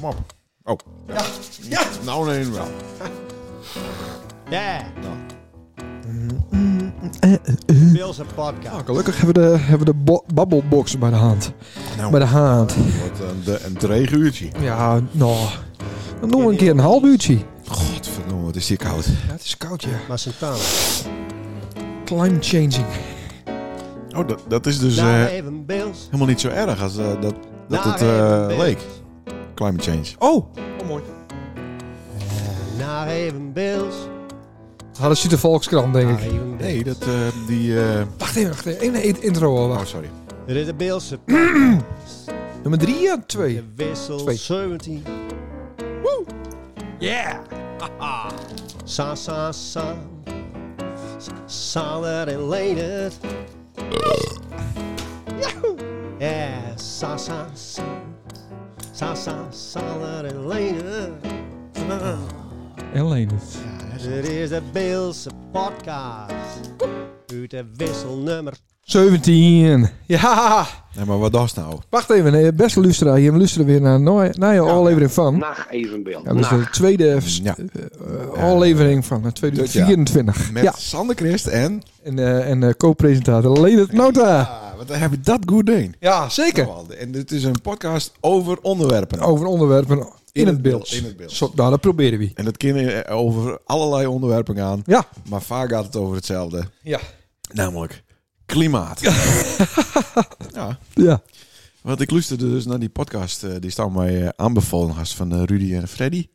Kom op. Oh. Ja. Nou, nee, wel. Ja, Pils en podcast. Nou, Mm, gelukkig hebben we de, hebben we de bo- babbelbox bij de hand. Nou. Bij de hand. Wat een, eh, de, een dreig uurtje. Ja, nou. Dan doen we een keer een half uurtje. Godverdomme, wat is hier koud. Ja, het is koud, ja. Maar er. Santana. Climate changing. Oh, dat, dat is dus Daar eh, even Pils. helemaal niet zo erg als eh, dat, dat Daar het eh, even Pils. leek. Climate change. Oh, oh mooi. Naar even Pils. Ah, dat ziet de Volkskrant, denk Naar ik. even Pils. Nee, dat eh, die... eh, Wacht even, wacht even. Eén- één intro al. Oh, Wacht. sorry. Dit is de Beelse Nummer drie, ja, twee. De wissel Twee. 17. Yeah! Sa, sa, sa. er Sa- Sander en Leendert. Yahoo! Ja, sa, sa, sa. Sa, sa, er Sander en Leendert. En Lenus. Dit is de Beelse podcast. Uit de wissel nummer 17. Ja! Nee, maar wat was nou? Wacht even, eh, beste luisteraar. Je luisteren weer naar, nou- naar je aflevering van. Nacht evenbeeld. Ja, dat is de tweede s- Ja. eh, aflevering van eh, 2024. Met Ja, Sander Christ en... en, eh, en eh, co-presentator Leendert Nota. Ah, wat heb je dat goed deen. Ja, zeker. Nou, En dit is een podcast over onderwerpen. Over onderwerpen in, In het het beeld. beeld, in het beeld. Zo, nou, dat proberen we. En dat kan eh, over allerlei onderwerpen gaan. Ja. Maar vaak gaat het over hetzelfde. Ja. Namelijk klimaat. ja. Ja. Want ik luisterde dus naar die podcast eh, die staan mij eh, aanbevolen was van eh, Rudy en Freddy.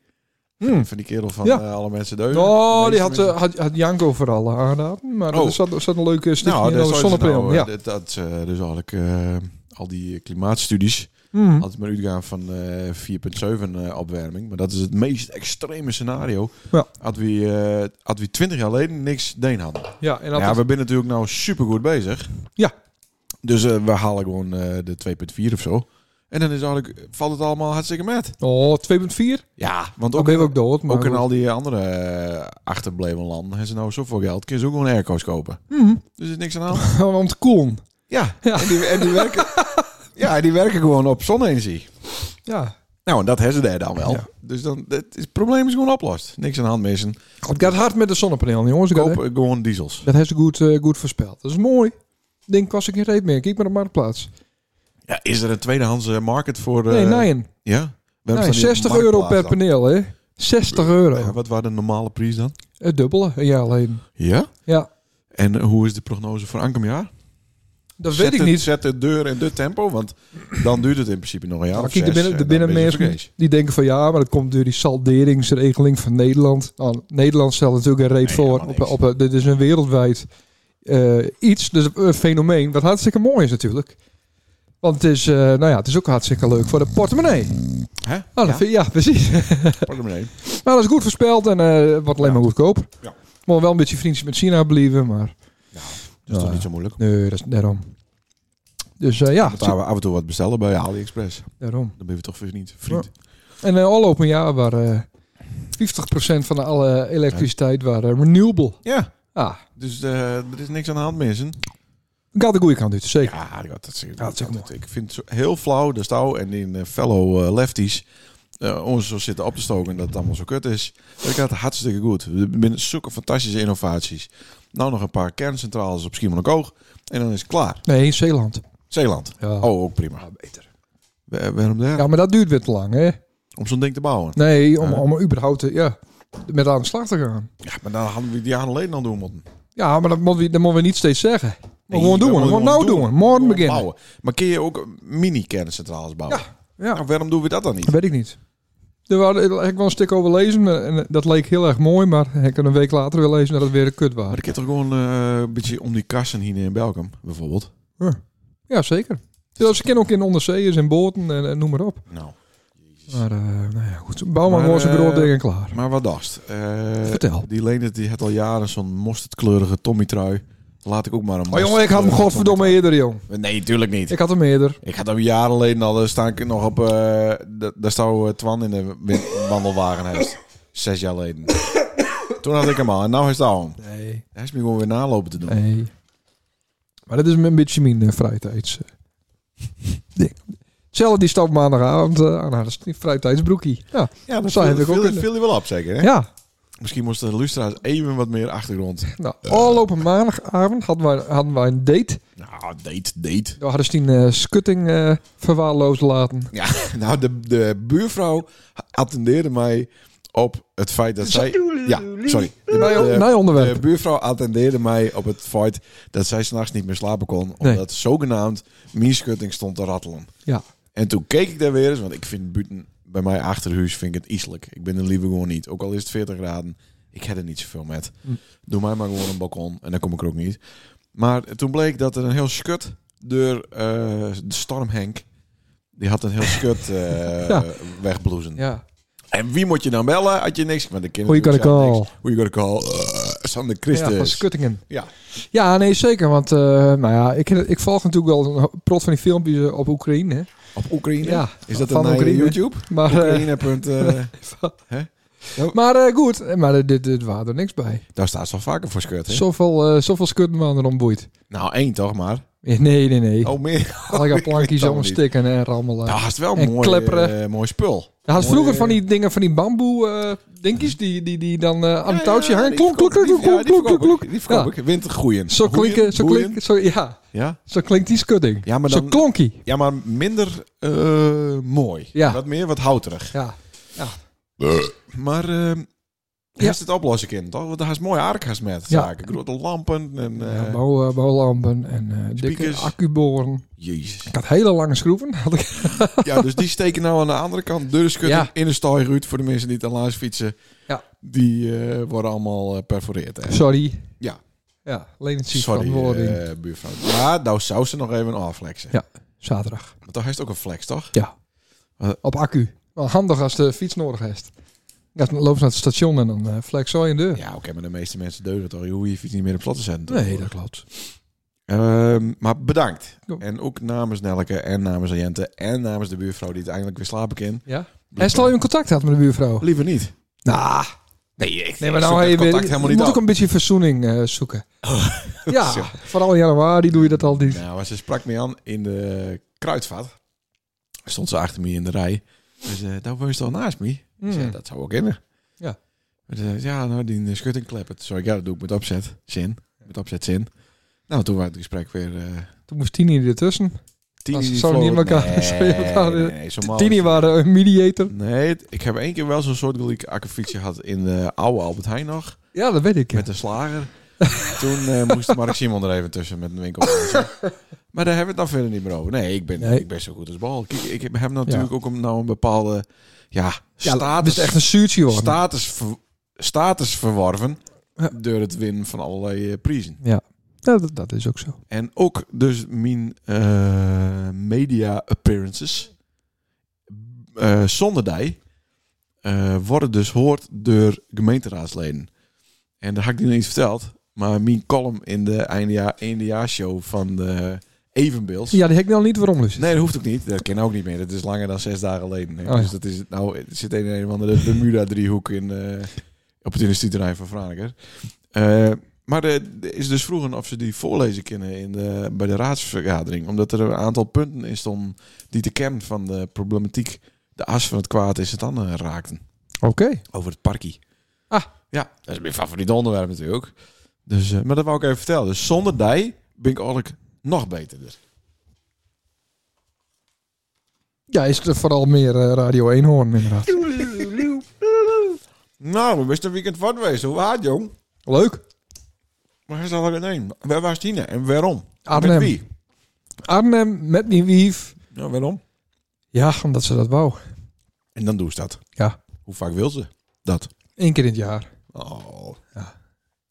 Hmm. Van die kerel van Ja. eh, Alle Mensen Deugen. De Oh, meeste die had, eh, mensen- had, had Janko vooral eh, aangeraden. Maar Oh. er zat, er zat een leuke stichtje nou, in dat over is zonnepanelen. nou, eh, ja. dat, dat ze dus eigenlijk eh, al die klimaatstudies Hmm. altijd maar uitgaan van eh 4,7 eh, opwarming. Maar dat is het meest extreme scenario. Ja. Had we, eh, had we 20 jaar geleden niks deen hadden. ja, en dat Ja, het- we zijn natuurlijk nou supergoed bezig. Ja. Dus eh, we halen gewoon eh, de 2.4 of zo. En dan is eigenlijk, valt het allemaal hartstikke met. Oh, 2,4? Ja, want Dan ook, ben je ook dood. Maar ook in goed. al die andere eh, achterbleven landen hebben ze nou zoveel geld. Kun je ze ook gewoon airco's kopen. Mhm. Dus er is niks aan aan. Om te koelen. Ja, Ja. En, die, en die werken, ja, die werken gewoon op zonne-energie. Ja. Nou, en dat hebben ze daar dan wel. Ja. Dus dan, dat is, het probleem is gewoon oplost. Niks aan de hand missen. Het gaat hard met de zonnepanelen, jongens. Ik had- Koop eh, gewoon diesels. Dat heeft ze goed, eh, goed voorspeld. Dat is mooi. Denk was ik geen reet meer. Kijk maar op Marktplaats. Ja, is er een tweedehands eh, market voor... eh, nee, Nijn. Ja? Waarom staan Nee, die op 60 euro Marktplaats per dan? paneel, hè? 60 Ja, euro. wat waren de normale prijs dan? Het dubbele, een jaar alleen. Ja? Ja, En eh, hoe is de prognose voor aankomend jaar? dat Zet weet ik de- niet. Zet de deur in de tempo, want dan duurt het in principe nog een jaar Maar of kijk, er zes binnen, er en dan binnen ben je mensen vergees. die denken van ja, maar dat komt door die salderingsregeling van Nederland. Nou, Nederland stelt natuurlijk een reet Nee, voor. helemaal Op, niks. op, eh, dit is een wereldwijd eh, iets, dus een fenomeen wat hartstikke mooi is natuurlijk. Want het is, eh, nou ja, het is ook hartstikke leuk voor de portemonnee. Hè? Nou, Ja? dat vind- ja, precies. Portemonnee. Maar dat is goed voorspeld en eh wordt Ja. alleen maar goedkoop. Ja. Moet wel een beetje vriendjes met China blijven, maar Dat is Ja. toch niet zo moeilijk. nee, dat is daarom. Dus eh, ja, Want daar we af en toe wat bestellen bij AliExpress. daarom. Dan ben je toch weer niet vriend. En eh al open jaar waar eh 50% van alle elektriciteit waar eh, renewable. Ja, Ah, dus eh, er is niks aan de hand mensen. gaat de goede kant uit, zeker. Ja, dat, dat, dat, dat is ook dat- ik vind het zo heel flauw, de stouw en die eh, fellow eh, lefties... eh, ons zo zitten op te stoken en dat het allemaal zo kut is. Dat gaat hartstikke goed. We binnen zulke fantastische innovaties. Nou nog een paar kerncentrales op Schiermonnikoog. En dan is het klaar. Nee, in Zeeland. Zeeland. Ja. Oh, ook prima. beter. Wa- Waarom daar? Ja, maar dat duurt weer te lang, hè? Om zo'n ding te bouwen. Nee, om, Ja. om überhaupt te, ja, met aan de slag te gaan. Ja, maar dan hadden we die jaren geleden al doen moeten. Ja, maar dat moeten we, dat moeten we niet steeds zeggen. Maar Nee, gewoon doen, dat gewoon moeten we nou doen. Morgen Gewoon beginnen. bouwen. Maar kun je ook mini-kerncentrales bouwen? Ja, Nou, waarom doen we dat dan niet? dat weet ik niet. Er waren, ik heb ik wel een stuk over lezen maar- en eh, dat leek heel erg mooi, maar ik kan een week later weer lezen dat het weer een kut Maar was. ik heb toch gewoon eh, een beetje om die kassen hier in Belgium, bijvoorbeeld. Ja, zeeën Dus ze kennen ook in onderzeeërs en boten en, en noem maar op. Nou, Maar eh, nou ja, goed. Bouw maar Maar, gewoon zijn eh, bureau en klaar. maar wat dacht? Eh, Vertel. Die Leendert die had al jaren zo'n mosterdkleurige Tommy-trui. Laat ik ook maar een Maar Oh, jongen, ik had hem mosterdkleurige godverdomme eerder, jong. Tommy-trui. Nee, tuurlijk niet. Ik had hem eerder. Ik had hem jaren geleden al, daar sta ik nog op, eh, da- daar stond eh, Twan in de win- wandelwagen huis. Zes jaar geleden. Toen had ik hem al en nou is het al. Nee. Hij is me gewoon weer nalopen te doen. Nee. Maar dat is een beetje mijn eh, vrije tijds, eh, ding. Cellen die stapt maandagavond eh, aan haar vrijtijdsbroekie. Ja, Ja, dat Zo viel- heb ik ook viel, kunnen. viel je wel op, zeker. Hè? ja. Misschien moest de lustra's even wat meer achtergrond. Nou, afgelopen maandagavond hadden wij, hadden wij een date. Nou, date, date. We hadden Stien eh, Skutting eh verwaarloosd laten. Ja, nou, de, de buurvrouw attendeerde mij op het feit dat zij... Ja, sorry. De, Mijn, de- mijn de onderwerp. buurvrouw attendeerde mij op het feit dat zij s'nachts niet meer slapen kon. Omdat zogenaamd mieskutting stond te rattelen. Ja. En toen keek ik daar weer eens, want ik vind buiten bij mij achterhuis vind ik het iselijk. Ik ben er liever gewoon niet. Ook al is het 40 graden, ik heb er niet zoveel met. Hm. Doe mij maar gewoon een balkon en dan kom ik er ook niet. Maar toen bleek dat er een heel skut door eh, de storm Henk, die had een heel skut eh, Ja. wegbloezen. ja. En wie moet je dan bellen als je niks... Maar de Hoe je kinderen kan ik al. Hoe je kan ik al. eh, Sander Ja, van Christus. Skuttingen. Ja. dus. Ja, nee, zeker. Want, eh, nou ja, ik, ik volg natuurlijk wel een prot van die filmpjes eh, op Oekraïne. Op Oekraïne? Ja, Is dat van dan naar Oekraïne. YouTube? Maar, eh, Oekraïne. punt, eh, maar eh, goed, Eh, maar dit, dit, dit waren er niks bij. daar staat ze al vaker voor skut, hè? Zoveel, eh zoveel Skutten waren erom boeid. Nou, één toch maar. Eh, Nee, nee, nee. Oh, meer. Alle weet plankjes het om allemaal stikken en rammelen. Nou, is wel En mooi, klepperen. eh, mooi spul. Hij had Mooi, vroeger eh, van die dingen, van die bamboe eh dinkies, die, die, die dan eh, aan het Ja, touwtje ja, hangen. die Klonk, klonk, klonk, verkoop ik, die- ja, die klonk, verkoop klonk, klonk, ik, klonk. Die verkoop Ja. ik. Wintergroeien. Zo Groeien, klinken, zo boeien. klinken, zo, ja, Ja? zo klinkt die scudding. Ja, maar zo dan- klonkie. ja, maar minder eh, mooi. Ja. Wat meer, wat houterig. Ja. Maar eh Ja. ja. is het oplossen, kind, toch? Want daar is mooi aardig met Ja. zaken. Grote lampen en... eh, ja bouw, eh, bouwlampen en eh, dikke Speakers. accuboren. Jezus. Ik had hele lange schroeven. Had ik, Ja, dus die steken nou aan de andere kant. De schutting Ja. in de stooiruut voor de mensen die te laars fietsen. Ja. Die eh, worden allemaal eh, perforeerd. Hè? sorry. Ja. Ja, lenentie Sorry, verantwoording. eh buurvrouw. Ja, nou zou ze nog even aflexen. Ja. Zaterdag. Want daar heeft ook een flex, toch? Ja. Eh. Op accu. Wel handig als de fiets nodig heeft. Ja, dan loop ze naar het station en dan eh flex zo in de deur. Ja, oké, maar de meeste mensen deugen toch. Je hoeft je fiets niet meer op plat te zetten. toch? Nee, dat klopt. Ehm, maar bedankt. Jo. En ook namens Nelke en namens Jente en namens de buurvrouw die uiteindelijk weer slapen kan. Ja. En stel je een contact had met de buurvrouw? Liever niet. Nou, Nee, ik Nee, maar nou zoek dat heb je contact weer- helemaal je niet moet ook op. een beetje verzoening eh, zoeken. ja, Zo. vooral in januari doe je dat al dus. niet. Nou, maar ze sprak me aan in de kruidvat. Stond ze achter me in de rij. Dus eh daar woont ze al naast me. Ik zei, Hmm. dat zou ook in. Ja. Maar ze zei, ja, nou, die eh, schutting kleppert. Zo, ik, ja, dat doe ik met opzet. Zin. Met opzet zin. Nou, toen waren het gesprek weer... eh Toen moest Tini ertussen. tien Als ze zo niet in elkaar- zo in elkaar- zo'n Tini malle- waren een mediator. Nee, het- ik heb één keer wel zo'n soort gelijk akkefietje gehad in de oude Albert Heijn nog. Ja, dat weet ik. Met de slager. Toen eh, moest Mark Simon er even tussen met een winkel. maar daar hebben we het dan verder niet meer over. Nee, ik ben, Nee. Ik ben zo goed als bal. Kijk, ik heb hem natuurlijk ook een, nou een bepaalde ja, ja, dat status, is echt een zuurtje hoor. status, ver- status verworven. Ja. Door het winnen van allerlei eh, prijzen. ja, dat, dat is ook zo. En ook dus mijn eh, media appearances eh, zonder die eh, worden dus hoord door gemeenteraadsleden. En daar had ik die nog niet verteld. Maar mijn column in de eindeja- eindejaarshow van de Evenbeeld. Ja, die heb ik nou niet waarom, Luus. Nee, dat hoeft ook niet. Dat ken ik ook niet meer. Dat is langer dan zes dagen geleden. hè. Oh ja. Dus dat is nou, het zit in een of andere Bermuda-driehoek in, eh, op het industrieterrein van Franeker. Eh, maar er er is dus vroegen of ze die voorlezen kunnen in de, bij de raadsvergadering. Omdat er een aantal punten in stonden die de kern van de problematiek, de as van het kwaad, is het dan eh, raakten. Oké. Over het parkie. Ah. Ja, dat is mijn favoriete onderwerp natuurlijk. Dus, eh, maar dat wou ik even vertellen. Dus zonder die ben ik eigenlijk nog dus. beterder. Ja, is er vooral meer eh, Radio 1 hoorn inderdaad. Nou, we wisten een weekend wat geweest. Hoe waard, jong? Leuk. Maar hij zal er nee. Waar was Tina en waarom? Arnhem. Met wie? Arnhem met mijn wief. Nou, waarom? Ja, omdat ze dat wou. En dan doe ze dat. Ja. Hoe vaak wil ze dat? Eén keer in het jaar. Oh. Ja.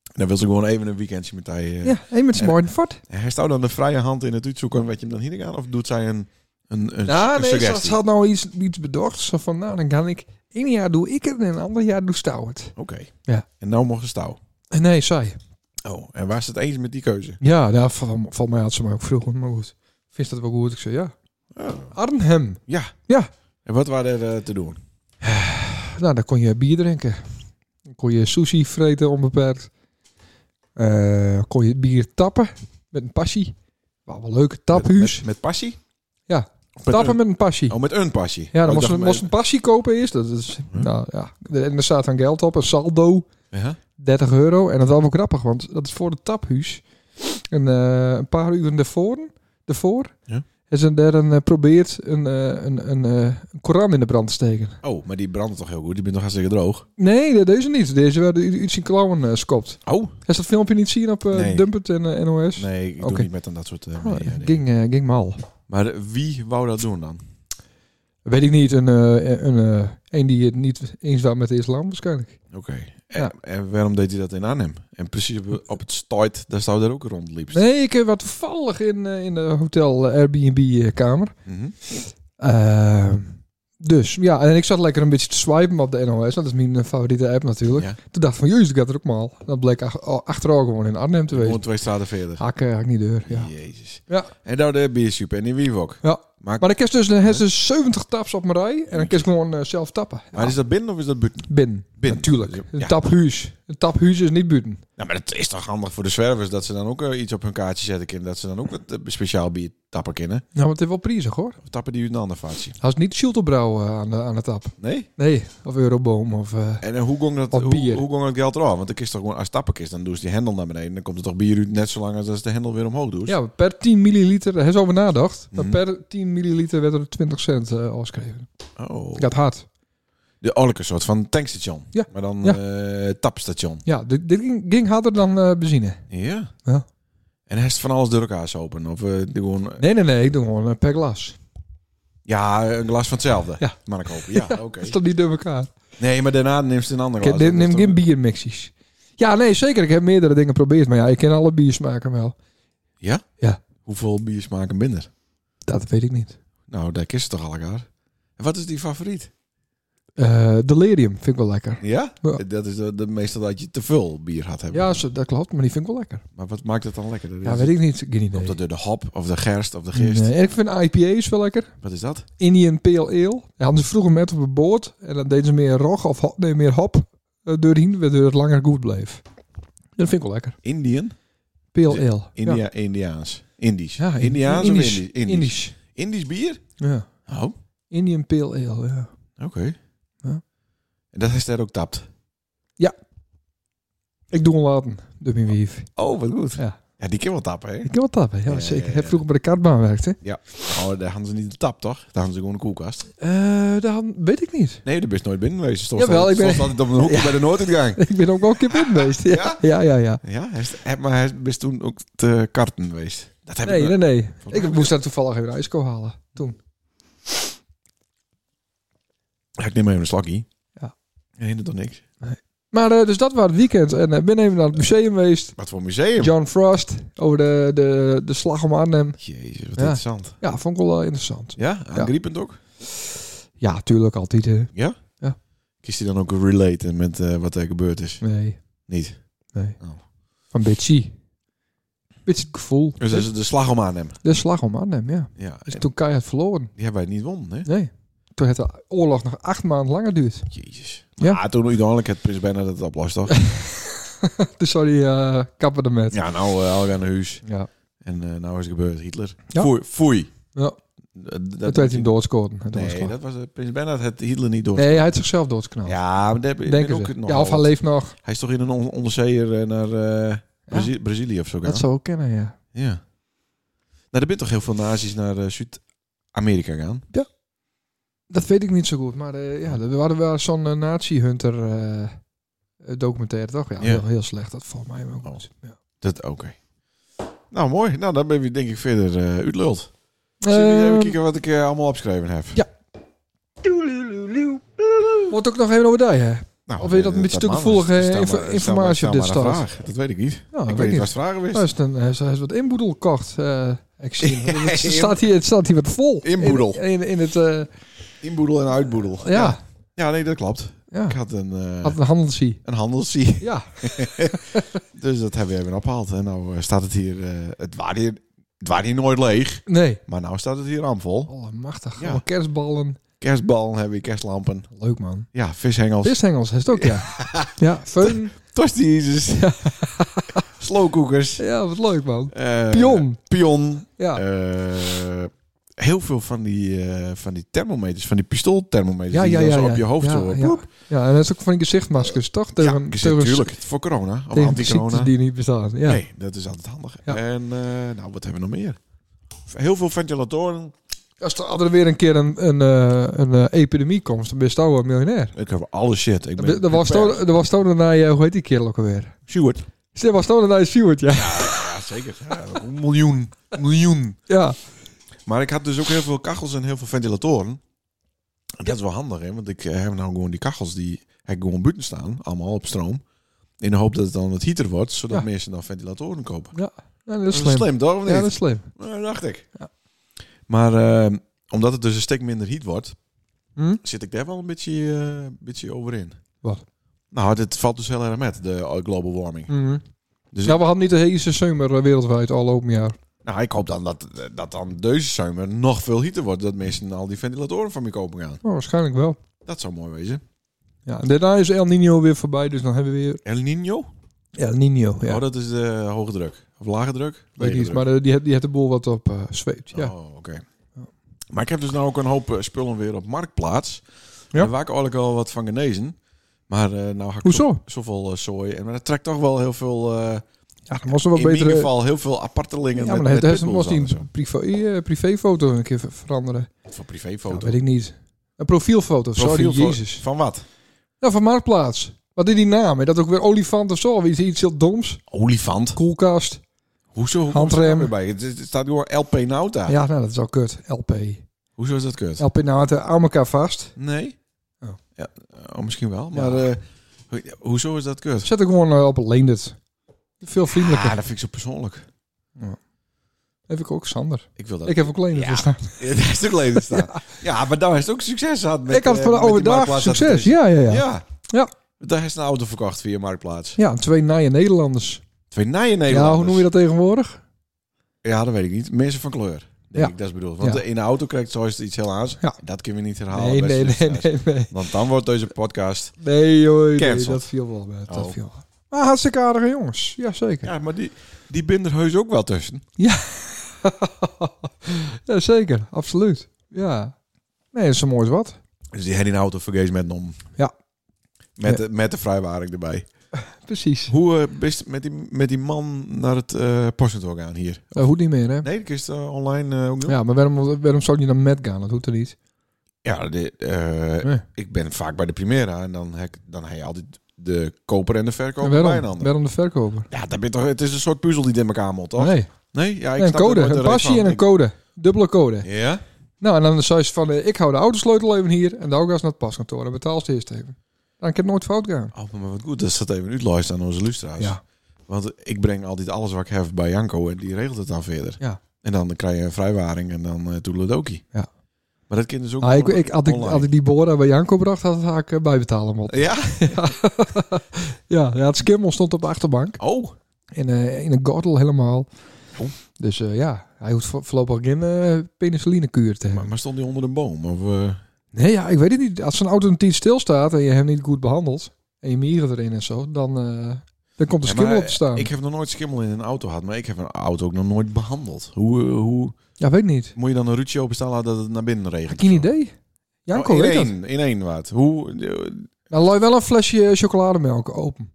Dan wil ze gewoon even een weekendje met hij. eh. Ja, één met Ja. Smarten Fort. Hij staat dan de vrije hand in het uitzoeken. Weet je hem dan hier aan? Of doet zij een, een, een, Ja, een nee, ze, suggestie? ze had nou iets, iets bedacht. Zo van, nou, dan kan ik... Eén jaar doe ik het en een ander jaar doe Stouw het. Oké. Ja. En nou mocht ze touw. Eh, Nee, zij. Oh, en waar is het eens met die keuze? Ja, nou, van, van mij had ze mij ook vroeg. Maar goed, vind je dat wel goed? Ik zei, ja. Oh. Arnhem. En wat waren er eh, te doen? Nou, daar kon je bier drinken. Dan kon je sushi vreten onbeperkt. Eh, kon je bier tappen met een passie. Wel, wel leuk, Met- taphuis. Met, met passie? Ja. Of met Tappen een, met een passie. oh, met een pasje. Ja, Oh, dan ik moest dacht Hm. je moest een passie kopen eerst. Dat is, nou, ja. En er staat dan geld op, een saldo, met- Ja? 30 euro. En dat was wel grappig, want dat is voor het taphuis. En eh, een paar uren daarvoor, daarvoor Ja. is er daar een, eh, probeert een, eh, een, een, eh, een Koran in de brand te steken. Oh, maar die brandt toch heel goed. Die bent nog hartstikke droog. Nee, de- deze niet. Deze werden iets in klauwen eh, skopt. Oh? Is dat filmpje niet zien op eh Nee. Dumpert en eh, NOS? Nee, ik doe Oké. niet met aan dat soort eh, Oh, mee, eh, dingen. ging, eh, ging mal. Maar eh, wie wou dat doen dan? Weet ik niet, een, eh, een, eh, een die het niet eens was met de islam waarschijnlijk. Oké. En, Ja. en waarom deed hij dat in Arnhem? En precies op, op het start, daar zou daar ook rondliep. Nee, ik eh, was toevallig in, eh, in de hotel Airbnb-kamer. Mhm. Eh, dus ja, en ik zat lekker een beetje te swipen op de NOS. Dat is mijn eh, favoriete app natuurlijk. Ja. Toen dacht ik van, jezus, dat gaat er ook mal. Dat bleek ach- al- achteraf gewoon in Arnhem te Gewoon wezen. twee straten verder. Hak, eh, hak niet deur, ja. Jezus. Ja. En daar de biersoep en die wievok. Ja. Maar, Maar ik heb dus, eh, heb dus 70 taps op mijn rij. En dan kan ik gewoon eh, zelf tappen. maar is dat binnen of is dat buiten? Bin. Binnen. Natuurlijk. Een Ja. taphuis. Een taphuis is niet buiten. Nou, maar het is toch handig voor de zwervers dat ze dan ook eh, iets op hun kaartje zetten kunnen. Dat ze dan ook wat eh, speciaal bier tappen kunnen. Nou, want het is wel prijzig hoor. Of tappen die uit een ander vaatje. Als het niet Schulterbrouw eh, aan, de, aan de tap. Nee? Nee, of Euroboom of... eh, En eh, hoe ging dat, Wat hoe, bier. hoe ging dat geld eraf? Want de kist toch gewoon, als tappen kist, dan doen ze die hendel naar beneden. Dan komt er toch bier uit net zo lang als als de hendel weer omhoog doet. ja, per 10 milliliter, daar hebben ze over nadacht. Mhm. Maar per 10 milliliter werd er 20 cent eh afgeschreven. Oh. Gaat hard. De oorlijke soort van tankstation. Ja. Maar dan Ja. eh, tapstation. Ja, dit, dit ging, ging harder dan eh, benzine. Ja. Ja. En hij is van alles door elkaar zo open. Of eh, die gewoon... Nee, nee, nee, ik doe gewoon eh, per glas. Ja, een glas van hetzelfde. Ja. Maar ik hoop. Ja, oké. Dat is toch niet door elkaar? Nee, maar daarna neemt ze een ander Ik glas. neem, Dat is neem toch- geen biermixies. Ja, nee, zeker. Ik heb meerdere dingen geprobeerd. Maar ja, ik ken alle biersmaken wel. Hoeveel bier smaken minder? Dat weet ik niet. Nou, daar kist ze toch al elkaar. En wat is die favoriet? Eh, delirium vind ik wel lekker. Ja? Ja. Dat is de, de meeste dat je te veel bier gaat hebben. Ja, zo- dat klopt. Maar die vind ik wel lekker. Maar wat maakt dus het dan lekker? Dat Ja, is- weet ik niet. Geen idee. Komt dat door de hop of de gerst of de gist? Nee, en ik vind IPA's wel lekker. Wat is dat? Indian Pale Ale. Ja, hadden ze vroeger met op een boord. En dan deden ze meer rog of hop, nee, meer hop eh, doorheen. Waardoor het langer goed bleef. Dat vind ik wel lekker. Indian? Pale Ale. India, Ja. Indiaans. Indisch. Ja, Indiaans Indisch. of Indisch? Indisch. Indisch. Indisch bier? Ja. Oh, oké. Indian Pale Ale, ja. Ja. En dat is daar ook tapt? Ik doe hem laten, door mijn wief. Oh, wat goed. Ja. Ja, die kan wel tappen, hè? Ik kan wel tappen, ja, Ja, zeker. ja, ja. Ik heb vroeger bij de kartbaan gewerkt, hè. Oh, daar hadden ze niet de tap, toch? Daar hadden ze gewoon een koelkast. Eh, dat had- weet ik niet. Nee, daar bist nooit binnen geweest. Je Stond Jawel, altijd- ik ben- stond altijd op een hoekje bij de nooduitgang. Ik ben ook wel een keer binnen geweest. Ja, Ja? ja, ja. ja, Ja, hij is- hij- maar hij is- bist toen ook te karten geweest. Dat heb Nee, ik nee, nee. mij Ik wel. moest daar toevallig even een ijsko halen, toen. Ja, ik neem even een slakkie. Ja. Ja, hindert toch niks? Maar eh, dus dat was het weekend. En ik ben even naar het museum geweest. Wat voor museum? John Frost over de, de, de slag om Arnhem. Jezus, wat Ja. interessant. Ja, vond ik wel eh, interessant. Ja, aangriepend ook? Ja, tuurlijk altijd. hè. Kiest hij dan ook relaten met eh, wat er gebeurd is? Nee, Niet. nee. Oh. Van Bitsy. Beetje het gevoel. Dus dat is de slag om aan hem. De slag om Arnhem, ja. Ja, Dus en toen keihard verloren. die hebben wij niet won, hè? Nee. Toen heeft de oorlog nog acht maanden langer duurt. Jezus. Ja. Maar toen uiteindelijk het prins bijna dat het oplost, toch? Dus sorry, eh kappen ermee. ja, nou, eh al gaan naar huis. Ja. En eh, nou is het gebeurd, Hitler. Ja. Foei. foei. Ja. Dat, dat- Dat werd hij doodscoren. Hij Nee, doodscoren. dat was eh, prins Bernhard het Hitler niet door. nee, hij heeft zichzelf doodsknald. Ja, maar daar ben ik Denken ook ze. nog Ja, of hij leeft nog. Hij is toch in een on- onderzeeër eh, naar eh, Brazi- Brazilië of zo gaan? Dat zou ook kennen, ja. Ja. Nou, er zijn toch heel veel nazi's naar eh, Zuid-Amerika gaan? Dat weet ik niet zo goed. Maar eh, ja, we hadden wel zo'n eh, nazi-hunter eh, eh, documentaire, toch? Ja, Ja. Heel, heel slecht. Dat valt mij ook Oh. goed. Ja. Dat, oké. Nou, mooi. Nou, dan ben je denk ik verder eh uitluld. Zullen we even Ehm, kijken wat ik eh, allemaal opgeschreven heb? ja. Wordt ook nog even over die, hè? Nou, Of wil je dat een eh, beetje te mag. gevoelige Stel maar- inf- stel maar- informatie stel op maar dit een staat? vraag. Dat weet ik niet. Nou, ik weet weet niet ik. wat vragen Hij geweest. is, een, hij is, hij is wat inboedel gekocht. eh, ik zie het. Het staat hier, het staat hier wat vol. Inboedel. In, in, in het, eh, Inboedel en uitboedel. ja, Ja, nee, dat klopt. ja. Ik had een, eh, Had een handelsie. een handelsie. Ja, Dus dat hebben we even opgehaald. En nou eh, staat het hier... eh, het, waren hier het waren hier nooit leeg. nee. Maar nou staat het hier ramvol. Allemachtig. Ja. Allemaal kerstballen. Kerstballen hebben we, kerstlampen. Leuk, man. Ja, vishengels. Vishengels, is het ook, ja. Ja, feun. Tosti's. Slowcookers. Ja, wat leuk, man. Eh, Pion. Pion. Ja, Eh, heel veel van die, eh, van die thermometers, van die pistoolthermometers Ja, die ja, dan ja, zo ja. op je hoofd ja, zo. Ja. ja, en dat is ook van die gezichtmaskers, toch? Ja, Tegen- ik zeg, tegen- tuurlijk. Voor corona. Of Tegen anti-corona. ziekten die niet bestaan. Ja. Nee, dat is altijd handig. Ja. En eh, nou, wat hebben we nog meer? Heel veel ventilatoren. Als er altijd weer een keer een, een, eh, een eh, epidemie komt, dan ben je toch een miljonair. Ik heb alle shit. Ik ben Er was toch- er was toen naar, eh, hoe heet die kerel ook alweer? Stuart. Er was toen naar Stuart, ja. Ja, zeker. Ja, een miljoen. Een miljoen. Ja, Maar ik had dus ook heel veel kachels en heel veel ventilatoren. En dat is wel handig, hè? Want ik eh, heb nou gewoon die kachels die heb ik gewoon buiten staan. Allemaal op stroom. In de hoop dat het dan wat heater wordt, zodat Ja. mensen dan ventilatoren kopen. Ja, dat is Dat slim. is slim, toch? Of niet? Ja, dat is slim. Nou, dacht ik. Ja. Maar eh, omdat het dus een stuk minder heat wordt, Hm? zit ik daar wel een beetje, eh, een beetje over in. Wat? Nou, dit valt dus heel erg met, de eh, global warming. Mhm. Dus nou, we hadden niet de hele zomer eh, wereldwijd al open jaar. nou, ik hoop dan dat, dat dan deze zomer nog veel heater wordt. Dat mensen al die ventilatoren van me kopen gaan. Oh, waarschijnlijk wel. Dat zou mooi wezen. Ja, en daarna is El Nino weer voorbij, dus dan hebben we weer El Nino? El Nino. Ja, Oh, dat is de hoge druk. Of lage druk? weet ik Lage niet, druk. maar eh, die, heeft- die heeft de boel wat op eh, zweept. Ja. Oh, oké. Maar ik heb dus nou ook een hoop eh, spullen weer op marktplaats. Ja. Daar waar ik eigenlijk al wat van genezen. Maar eh nou ga ik Hoezo? zo- zoveel eh, zooi. En maar dat trekt toch wel heel veel... eh, Ja, dan moest er wel in beter... ieder eh, geval heel veel apartelingen Ja, met, maar dan heeft- met dan pitbulls moest hij aan en zo. een privé, eh, privéfoto een keer ver- veranderen. Voor Dat privéfoto. weet ik niet. Een profielfoto, sorry, Profielfoto- jezus. Van wat? Ja, van Marktplaats. Wat is die naam? Is dat ook weer olifant of zo? Of iets, iets heel doms? Olifant. Koelkast? Hoezo? Hoe komt Handrem. er weer bij? Het, het staat door LP Nauta. Ja, nou, dat is al kut. LP. Hoezo is dat kut? LP nou het eh, aan elkaar vast. Nee. Oh. Ja, oh, misschien wel. Maar eh, ho- hoezo is dat kut? Zet er gewoon eh, op een Leendert. Veel vriendelijker. Ah, dat vind ik zo persoonlijk. Heb ik ook Sander. Ik wil dat. Ik heb ook Leendert dus nou, Ja. voor staan. Ja, Daar is het ook leden staan. Ja. maar daar is het ook succes gehad. Met, ik had eh, van met die overdag Marktplaats succes. advertentie. Ja, ja, ja. Ja, Ja. Ja. Daar is een auto verkocht via Marktplaats. twee naaie Nederlanders. Twee nijen Nederlanders. Ja, hoe noem je dat tegenwoordig? Ja, dat weet ik niet. Mensen van kleur. Denk Ja. ik, dat is bedoeld. Want eh, Ja. in de auto krijgt zoiets iets heel aans. Ja. Dat kunnen we niet herhalen. Nee, beste nee, nee, luisteraars. nee, nee. Want dan wordt deze podcast... Nee, hoor. Nee, Cancelled. dat viel wel met. Dat Oh. viel wel. Maar hartstikke aardige jongens. Jazeker. Ja, maar die, die binden er heus ook wel tussen. ja, zeker. Absoluut. Ja. Nee, dat is zo mooi als wat. Dus die hebben in de auto vergeet met nom. Ja. Met, de, met de vrijwaring erbij. Precies. Hoe eh, ben je met die, met die man naar het eh postkantoor gaan hier? Dat eh, hoeft niet meer, hè? Nee, dat is eh, online eh, ook doen. Ja, maar waarom, waarom zou je naar Met gaan? Dat hoeft er niet. Ja, de, eh, Nee. ik ben vaak bij de Primera en dan heb, ik- dan heb je altijd de koper en de En verkoper bij een waarom, ander. waarom de verkoper? Ja, dat ben je toch, het is een soort puzzel die in elkaar moet, toch? Nee, Nee? Ja, ik Nee, een snap er code. nooit de Een reet passie van. en een Ik- code. Dubbele code. Ja? Nou, en dan zei ze van, eh, ik hou de autosleutel even hier en de auto is naar het paskantoor. En betaal ze eerst even. Dan ik heb nooit fout gedaan. Oh, maar wat goed dat ze dat even uitluisteren aan onze lustra's. Ja. Want ik breng altijd alles wat ik heb bij Janko en die regelt het dan verder. Ja. En dan krijg je een vrijwaring en dan eh toedeledokie. Ja. Maar dat kind dus ook Ah, ik, gewoon ik, had, ik, online. had ik die Bora bij Janko bracht, had had ik eh, bijbetalen moeten. Ja? Ja, ja, het skimmel stond op de achterbank. Oh, In, eh, in een gordel helemaal. Oh. Dus eh, ja, hij hoeft vo- voorlopig geen eh penicillinekuur te maar, hebben. maar stond die onder een boom? Of, eh, Nee, ja, ik weet het niet. Als zo'n auto een tijd stilstaat en je hem niet goed behandelt... en je mieren erin en zo, dan, eh, dan komt de Ja, skimmel maar, op te staan. Ik heb nog nooit schimmel in een auto gehad, maar ik heb een auto ook nog nooit behandeld. Hoe, eh, hoe Ja, weet ik niet. moet je dan een ruitje openstaan laten dat het naar binnen regent? Geen of zo? idee. Janko Oh, in weet dat. één, in één wat. Hoe, eh, Nou, laai wel een flesje chocolademelk open.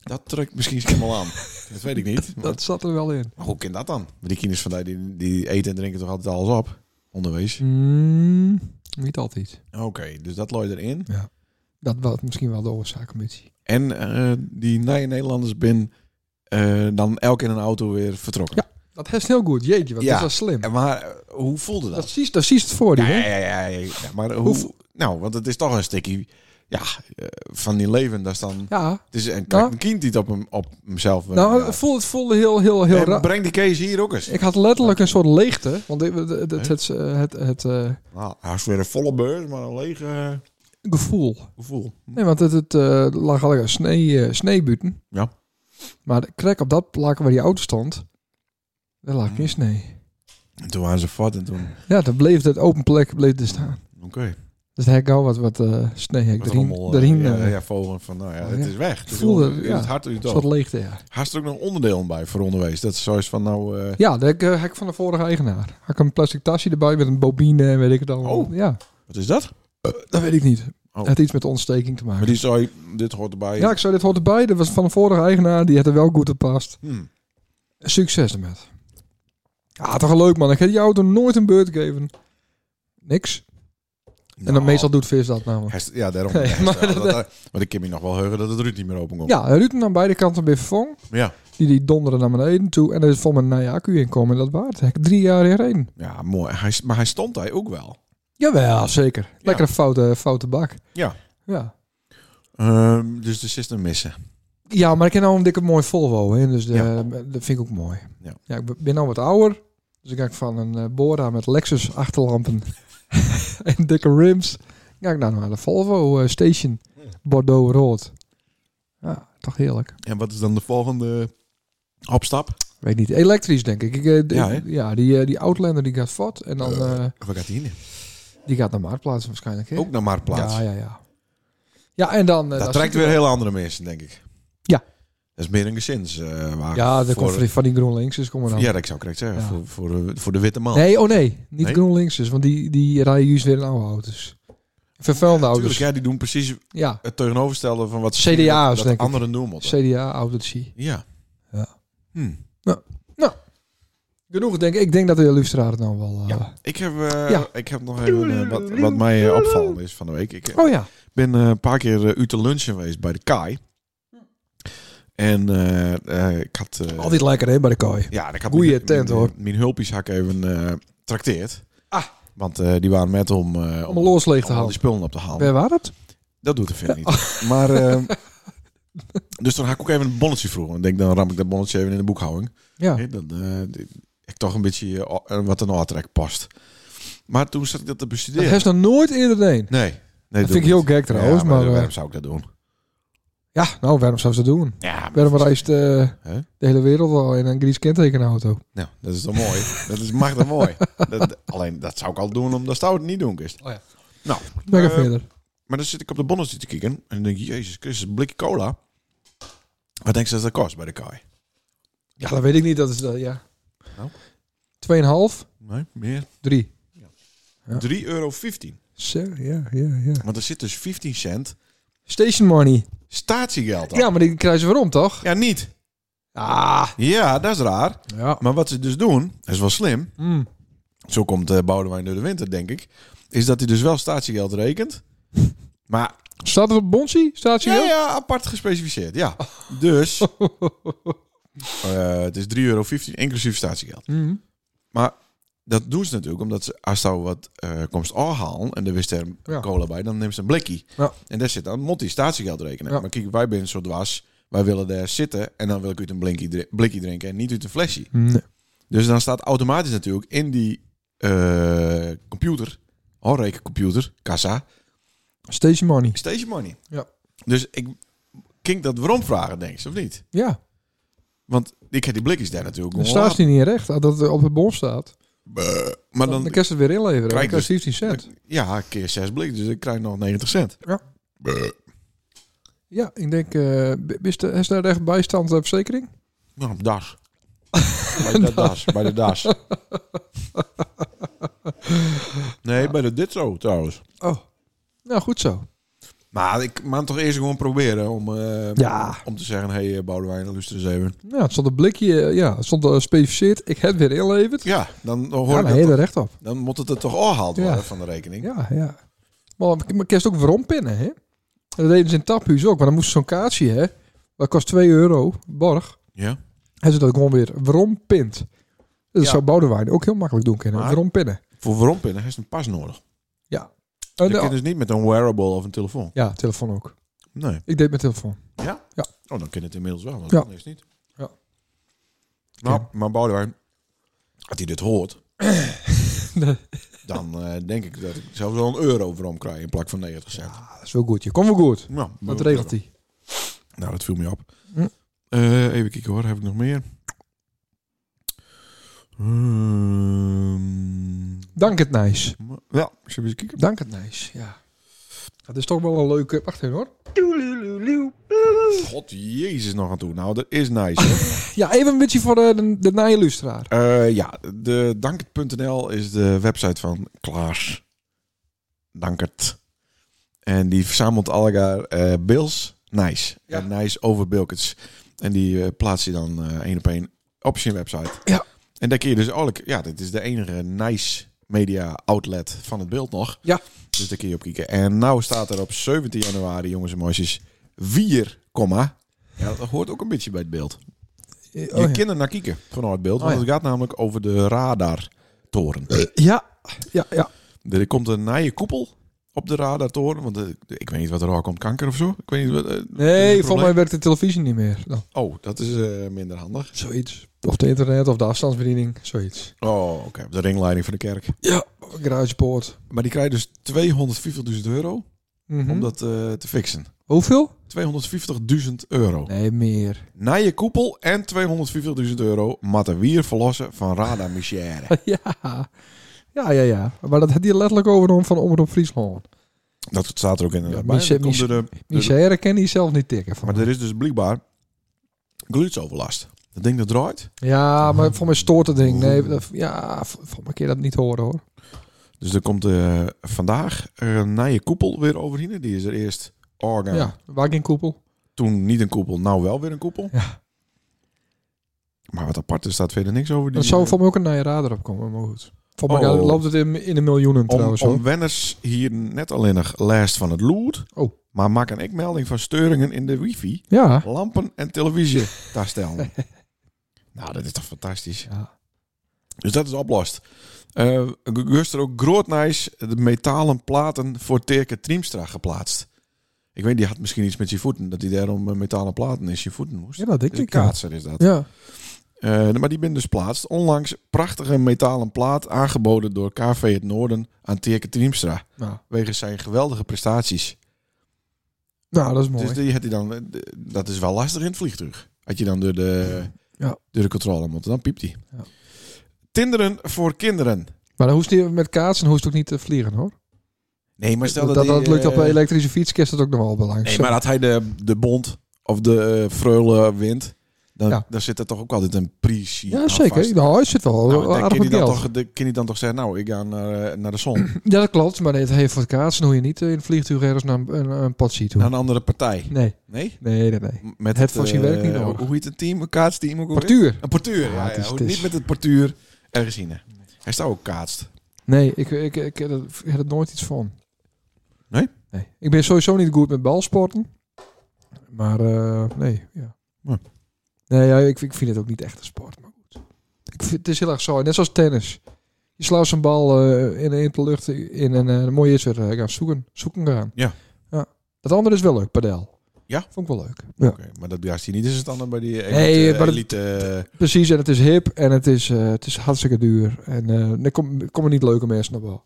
dat trekt misschien schimmel aan. dat weet ik niet. Maar, Dat zat er wel in. maar hoe kan dat dan? Die kinders van die, die, die eten en drinken toch altijd alles op? Onderwijs. Mm, niet altijd. Oké, dus dat looit erin. Dat was misschien wel de oorzaak een beetje. En eh, die nije Nederlanders bin eh, dan elk in een auto weer vertrokken. Ja. Dat is heel goed. Jeetje, wat Ja. is dat slim. En Maar eh, hoe voelde dat? Dat zie dat zie je het voor die, Ja, hè? ja, ja, ja, ja. Maar hoe, Hoe- Nou, want het is toch een stukje... Ja, eh, van die leven, dat is dan... Ja. Het is een, Nou. een kind die het op, hem, op hemzelf... Nou, Ja. het voelde, het voelde heel, heel, heel En raar. breng die Kees hier ook eens. Ik had letterlijk een soort leegte. Want ik- het, het, het, het, eh, het, het, eh, Nou, hij is weer een volle beurs, maar een lege eh, gevoel. gevoel. Nee, want het, het eh, lag al een snee, eh sneeuwbuiten. Ja. Maar de krek op dat plak waar die auto stond, daar lag Hmm. geen snee. En toen waren ze vat en toen... Ja, dan bleef dat open plek bleef er staan. Oké. Dus hij gauw wat, wat eh snee ik Wat erin. rommel, eh, erin ja, eh, ja, vogelen van, nou ja, ja. het is weg. Het is Voelde, onder- in ja, het hart uit een soort dood. leegte, ja. Had er ook nog onderdelen bij voor onderwijs? Dat is zoiets van, nou, eh, Ja, dat eh, heb ik van de vorige eigenaar. Had ik een plastic tasje erbij met een bobine en weet ik het allemaal. Oh. Ja, wat is dat? Eh, dat weet ik niet. Oh. Het had iets met ontsteking te Maar maken. die zei, dit hoort erbij. Ja, ik zou dit hoort erbij. Dat was van de vorige eigenaar. Die had er wel goed op past. Hmm. Succes ermet. Ja, toch leuk man. Ik heb die auto nooit een beurt gegeven. Niks. en dan Nou, meestal doet vis dat namelijk. hij is- Ja, daarom. Nee, hij is- maar ja, dat- dat- Want ik kan me nog wel heugen dat het Ruud niet meer open komt. Ja, hij ruikt hem aan beide kanten weer vervangen. Ja. Die, die donderen naar beneden toe. En er is vol met een nieuwe accu in komen. En dat waard. Heb ik drie jaar in reden. Ja, mooi. Hij, is- maar hij stond hij ook wel. Jawel, zeker. Lekkere foute, foute bak. Ja. Ja. Ehm, dus de system missen. Ja, maar ik heb nou een dikke mooi Volvo. Hè, dus de, Ja. dat vind ik ook mooi. Ja. ik ben- ben nou wat ouder. Dus ik ga ik van een eh, Bora met Lexus achterlampen en dikke rims. Ga ik nou naar de Volvo eh, Station. Bordeaux rood. Ja, toch heerlijk. En wat is dan de volgende opstap? Weet niet. Elektrisch denk ik. ik eh, d- Ja, hè? ja die, eh, die Outlander die gaat fort. En dan eh, Waar gaat hij in? die gaat naar Marktplaats waarschijnlijk. Hè? Ook naar Marktplaats. Ja, ja, ja. Ja, en dan... eh, dat dan trekt zit weer er- heel andere mensen, denk ik. Ja. Dat is meer een gezinswagen. Ja, de Voor- komt van die GroenLinks is komen dan. Ja, dat zou ik correct zeggen. Ja. Voor, voor, de, voor de witte man. Nee, oh nee. Niet Nee? GroenLinks dus, want die, die rijden juist weer in oude auto's. Vervuilde Tuurlijk, auto's. ja, die doen precies Ja, het tegenovergestelde van wat CDA's, dat, dat denk ik. anderen doen moeten. CDA-auto's. ja. Ja. Hm. Genoeg, denk ik. Ik denk dat de Illustrator het nou wel... eh, Ik heb, eh, Ja. ik heb nog even eh, wat, wat mij eh, opvallend is van de week. Ik eh, Oh ja. ben eh, een paar keer eh, uit te lunchen geweest bij de Kai. Hm. En eh, eh, ik had... eh, Altijd lekker, hè, bij de kooi. Ja, ik had Goeie mijn- tent, mijn- hoor. Mijn hulpjes had ik even eh trakteerd. Ah. Want eh, die waren met om, eh, Om los leeg te om al die halen. Oh. spullen op te halen. Waar was het? Dat doet de vent niet. Maar, eh, dus dan had ik ook even een bonnetje vroegen. Ik denk, dan ram ik dat bonnetje even in de boekhouding. Ja. Hè, Dan, eh, die- ik toch een beetje eh, o- eh, wat een oortrek past. Maar toen zat ik dat te Dat bestuderen. heeft nog nooit eerder deed. Nee. nee Dat doe vind ik ik heel niet. gek trouwens, Ja, maar... eh, waarom zou ik dat doen? ja, nou, waarom zou ze dat doen? Ja, maar- Waarom reist eh, Hè? de hele wereld al in een Gries kentekenauto? nou, dat is toch mooi. dat is mag dan mooi. Dat, alleen, dat zou ik al doen, omdat zou het niet doen, kist. Oh ja. Nou, Ben ik eh, verder. Maar dan zit ik op de bonnetje te kijken en denk ik, jezus Christus, een blikje cola. Wat denk je dat dat kost bij de Kai? Ja, dat weet ik niet. Dat is... dat ja. Nou. 2,5, Nee, meer. 3. Ja. 3,15 euro. Zo, ja, ja, ja. Want er zit dus 15 cent Station money. statiegeld aan. Ja, maar die krijgen ze waarom, toch? Ja, niet. Ah. Ja, dat is raar. Ja. Maar wat ze dus doen, dat is wel slim. Mm. Zo komt eh, Boudewijn door de winter, denk ik. Is dat hij dus wel statiegeld rekent. Maar Staat het op Bonsi? Staat ze ja, wel? ja, apart gespecificeerd, ja. Dus eh, het is 3,15 euro inclusief statiegeld. Mm. Dat doen ze natuurlijk omdat ze als ze wat eh komst halen en er wist er een Ja. cola bij, dan neemt ze een blikkie. Ja. En daar zit dan Monty statiegeld rekenen. Ja. Maar kijk, wij zijn zo dwars, wij willen daar zitten en dan wil ik uit een blinkie dri- blikkie drinken en niet uit een flesje. Nee. Dus dan staat automatisch natuurlijk in die eh, computer, oh rekencomputer, kassa, Station money. station money. Ja. Dus ik kink dat waarom vragen, denk je, of niet? Ja, Want ik heb die blikjes daar natuurlijk. dan gewoon staat ze niet recht. Als dat op het bon staat, laten. Maar dan, dan, dan kan ze het weer inleveren. Dan Kijk, krijg je 15 cent. ja, keer zes blikjes, dus ik krijg nog 90 cent. Ja. Buh. Ja, ik denk, eh is de, is daar echt bijstand en verzekering? Nou, op das. bij de das. Bij de das. Nee, bij de dit zo trouwens. Oh, nou goed zo. Maar ik mag toch eerst gewoon proberen om, eh, Ja. om te zeggen... Hé, hey, eh, Boudewijn, luister eens even. Nou, het stond een blikje, eh, ja, het stond eh, specificeerd. Ik heb weer inleverd. Ja, Ja, dan, hoor ik dan heb dat je er toch- recht op. dan moet het er toch afgehaald worden Ja. van de rekening. Ja, ja. Maar, maar kerst ook verompinnen, hè? Dat deden ze in Taphuis ook, maar dan moest zo'n kaartje, hè? Dat kost 2 euro, borg. Ja. En ze dat gewoon weer verompint. Dat Ja. zou Boudewijn ook heel makkelijk doen kunnen. Maar- Verompinnen. Voor verompinnen heeft een pas nodig. Oh, Eh, dat de- kan dus niet met een wearable of een telefoon. ja, telefoon ook. Nee. Ik deed mijn telefoon. Oh, dan kan het inmiddels wel, want Ja. dat is niet. Ja. Nou, Ja. maar Boudewijn, als hij dit hoort, Nee. dan eh, denk ik dat ik zelfs wel een euro voor hem krijg in plak van 90 cent. Ja, Ah, dat is wel goed. Je komt wel goed. Nou, Dat regelt hij. Nou, dat viel me op. Hm. Eh, even kijken hoor, heb ik nog meer? Ehm, Dank het nice. maar- Ehm, ja, zullen we eens kijken? Dank het nice, ja. Dat is toch wel een leuke... Wacht even hoor. God jezus nog aan toe. Nou, dat is nice. hoor. Ja, even een beetje voor eh, de, de naaie lustraar. Eh, ja, de dankert.nl is de website van Klaas Dankert. En die verzamelt allegaar eh Bills, Nice. Ja. En Nice over Bilkets. En die eh, plaatst hij dan eh, één op één op zijn website. Ja. En daar kun je dus ook... Ja, dit is de enige Nice media outlet van het beeld nog. Ja. Dus daar kun je op kijken. En nou staat er op 17 januari, jongens en meisjes, 4, ja, dat hoort ook een beetje bij het beeld. Eh, je oh, ja. kinderen naar kijken vanuit beeld. Oh, Want ja. het gaat namelijk over de radartoren. ja, ja, ja. Er komt een nije koepel op de radartoren. Want eh, ik weet niet wat er al komt. Kanker of zo? Ik weet niet wat, eh, Nee, probleem. volgens mij werkt de televisie niet meer. Dan. Oh, dat is eh, minder handig. Zoiets. Of de internet of de afstandsbediening. Zoiets. Oh, oké. op De ringleiding van de kerk. Ja, garagepoort. Maar die krijgt dus 250.000 euro Mhm. om dat eh, te fixen. Hoeveel? 250.000 euro. Nee, meer. Nije koepel en 250.000 euro. Matten wier verlossen van radarmissière. ja. Ja, ja, ja. Maar dat had hij letterlijk over om van Omroep Friesland. dat staat er ook inderdaad Ja, bij. missie- Dat komt door de- Misère kan hij zelf niet tikken. Van. Maar er is dus blijkbaar glutsoverlast. Dat ding dat draait. Ja, maar voor mij stoort het ding. Nee, dat- ja, voor mij keer dat niet horen hoor. Dus er komt eh, vandaag een nije koepel weer overheen. Die is er eerst orgaan. Ja, waar geen koepel. Toen niet een koepel, nou wel weer een koepel. Maar wat apart is, staat verder niks over die... eh, Dat zou voor mij ook een naaie radar op komen, maar goed. Voor mij Oh. loopt het in, in de miljoenen om, trouwens hoor. om wenners hier net alleen nog last van het loert. Oh. Maar maak een ik melding van steuringen in de wifi, Ja. lampen en televisie daar stellen. nou, dat is toch fantastisch. ja. Dus dat is oplost. Eh Gust er ook grootnijs de metalen platen voor Terke Triemstra geplaatst. Ik weet, die had misschien iets met zijn voeten. Dat hij daarom eh, metalen platen in zijn voeten moest. Ja, dat denk Dus een ik. ja. kaatser is dat. Ja. Eh, maar die ben dus plaatst. Onlangs prachtige metalen plaat aangeboden door KV Het Noorden aan Terke Triemstra. Nou, Wegens zijn geweldige prestaties. nou, dat is mooi. Dus die had hij dan, eh, d- dat is wel lastig in het vliegtuig. Had je dan door de, Ja. door de controle moet, dan piept hij. Ja. Tinderen voor kinderen. Maar dan hoest hij met kaatsen hoest ook niet te vliegen hoor. Nee, maar stel dat, dat, die, dat lukt op eh, een elektrische fiets, kerst dat ook nog wel belangrijk. Nee, maar dat hij de, de bond of de uh, Freule wint, dan, Ja. dan zit er toch ook altijd een prijsje ja, aan zeker. vast. Nou, hij zit wel Nou, dan aardig kan met hij dan, geld. toch, de, kan hij dan toch zeggen, nou, ik ga naar, eh, naar de zon. Ja, dat klopt. Maar het heeft voor kaatsen hoe je niet eh, in het vliegtuig ergens naar een, een, een pad ziet. naar een andere partij. Nee, Nee? nee, nee, nee. Met Het fossiel eh, werkt niet nodig. Hoe heet het team? Een kaatsteam? Ook alweer? Portuur. Een portuur, Ja, ja. het ja. is- Hoe- het is- Niet met het portuur ergens in. hè. Hij staat ook kaatst. Nee, ik, ik, ik, heb er- ik heb er nooit iets van. Nee? Nee. Ik ben sowieso niet goed met balsporten. Maar eh, nee, ja. Ja. Nee, ja, ik, ik vind het ook niet echt een sport. Maar goed. Ik vind, het is heel erg zo. Net zoals tennis. Je slaat zo'n bal eh, in, in de lucht in en eh, dan moet je eerst weer eh, gaan zoeken. Zoeken gaan. Ja. ja. Dat andere is wel leuk, padel. Ja? Vond ik wel leuk. Ja. Oké, maar dat juist hij niet. Is het dan bij die elite... Nee, maar dat- elite eh, Precies, en het is hip en het is, eh, het is hartstikke duur. En eh er kom- komen niet leuke mensen naar boven.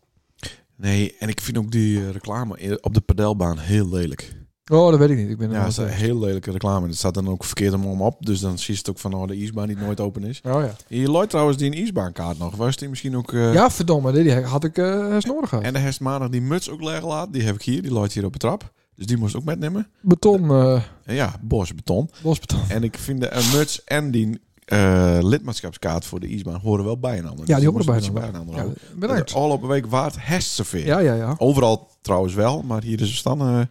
nee, en ik vind ook die eh, reclame op de padelbaan heel lelijk. Oh, dat weet ik niet. Ik ben er Ja, nooit dat is een bij. heel lelijke reclame. Het staat dan ook verkeerd om hem op. Dus dan zie je het ook van oh, de ijsbaan die nooit open is. Oh ja. Je looit trouwens die een ijsbaankaart nog. Was die misschien ook... eh, Ja, verdomme, die had ik eh snoren gehad. En de herfst maandag die muts ook leeg laat. Die heb ik hier. Die looit hier op de trap. Dus die moest ik ook metnemen. Beton, eh En ja, bosbeton. losbeton. En ik vind de een muts en die eh, lidmaatschapskaart voor de ijsbaan horen wel bij een ander. Dus Ja, die horen bij een een bij een ander. Ja, houden. Dat bedankt. is Al op een week waard herst zoveel. Ja, ja, ja. Overal trouwens wel. Maar hier is een stand... eh,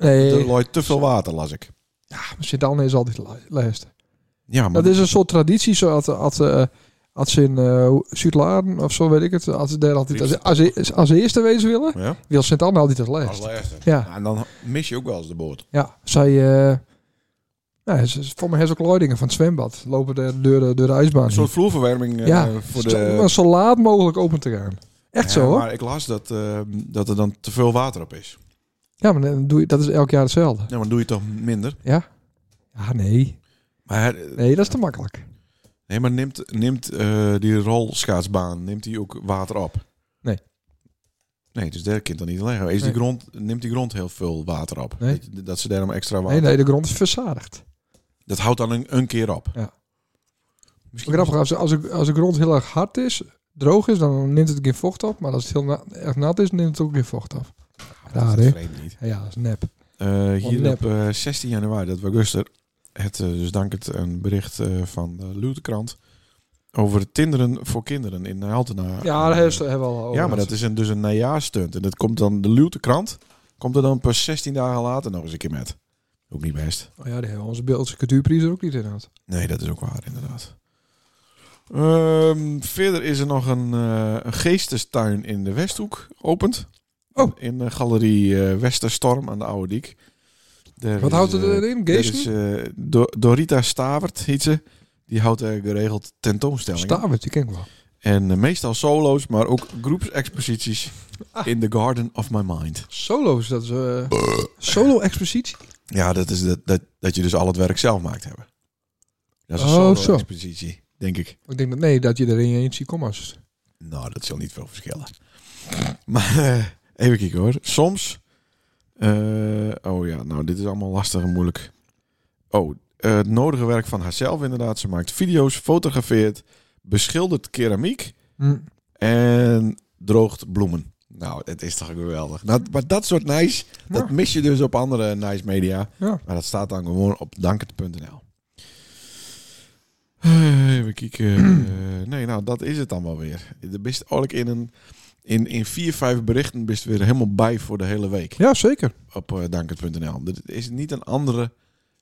Nee, Er looit te veel water, las ik. Sint-Anne is altijd la- lijst. Ja, maar Dat is een soort traditie, zoals als, eh als ze in eh Zuid-Laren of zo, weet ik het. Als ze daar altijd als, als, als, als eerste wezen willen, Ja? wil Sint-Anne altijd als Als lijst. laatste. Ja, Nou, en dan mis je ook wel eens de boot. ja. Zij, eh nou, ze- ze- voor mij hebben ze ook leidingen van het zwembad. Lopen de, door, de, door de ijsbaan. Een soort vloerverwarming eh, Ja, voor Zo- de... maar zo laat mogelijk open te gaan. Echt Ja, zo hoor. Maar ik las dat, eh, dat er dan te veel water op is. Ja, maar dan doe je, dat is elk jaar hetzelfde. Ja, maar dan doe je toch minder. Ja, nee. Maar, eh, Nee, dat is te makkelijk. nee, maar neemt, neemt eh, die rolschaatsbaan, neemt die ook water op? Nee. Nee, dus daar kind dan niet leggen. Is Nee. die grond, neemt die grond heel veel water op? Nee. Dat, dat ze daarom extra water... Nee, nee, de grond is verzadigd. Dat houdt dan een, een keer op. Ja. Misschien Grappig, als, als, de- als de grond heel erg hard is, droog is, dan neemt het geen vocht op. Maar als het heel na- erg nat is, neemt het ook geen vocht op. Raar, dat is hè? vreemd niet. Ja, dat is nep. Eh, hier nep. op eh, 16 januari, dat was gisteren, het, eh, dus dank het een bericht eh, van de Lutekrant over het tinderen voor kinderen in Altena. Ja, daar oh, is- hebben we al over Ja, maar gehad. dat is een, dus een najaarstunt. En dat komt dan, de Lutekrant komt er dan pas 16 dagen later nog eens een keer met. Ook niet best. Oh ja, die hebben we onze Beeldse cultuurprijs er ook niet in gehad. Nee, dat is ook waar, inderdaad. Ehm, verder is er nog een, eh, een geestestuin in de Westhoek opend. Oh. In de galerie eh, Westerstorm aan de Oude Diek. Daar Wat is, houdt het eh, erin? daar Geesten? is eh, Do- Dorita Stavert, heet ze. Die houdt eh, geregeld tentoonstellingen. Stavert, die ken ik wel. en eh, meestal solo's, maar ook groepsexposities Ah. in the garden of my mind. Solo's, dat is... eh, Solo-expositie? Ja, dat is dat, dat, dat je dus al het werk zelf maakt hebben. Dat is een Oh, zo. solo-expositie, denk ik. Ik denk dat nee, dat je er in je eentje kommas. Nou, dat zal niet veel verschillen. Maar eh, even kijken hoor. Soms. eh, oh ja, nou, dit is allemaal lastig en moeilijk. Oh, eh, het nodige werk van haarzelf inderdaad. Ze maakt video's, fotografeert, beschildert keramiek Hm. en droogt bloemen. Nou, het is toch geweldig. Dat, maar dat soort nice, dat Ja. mis je dus op andere nice media. Ja. Maar dat staat dan gewoon op danket.nl. Eh, Even kijken. Eh, nee, nou, dat is het dan wel weer. De bist eigenlijk in, een, in, in vier, vijf berichten bist weer helemaal bij voor de hele week ja, zeker. op eh, danket.nl. Dit is niet een andere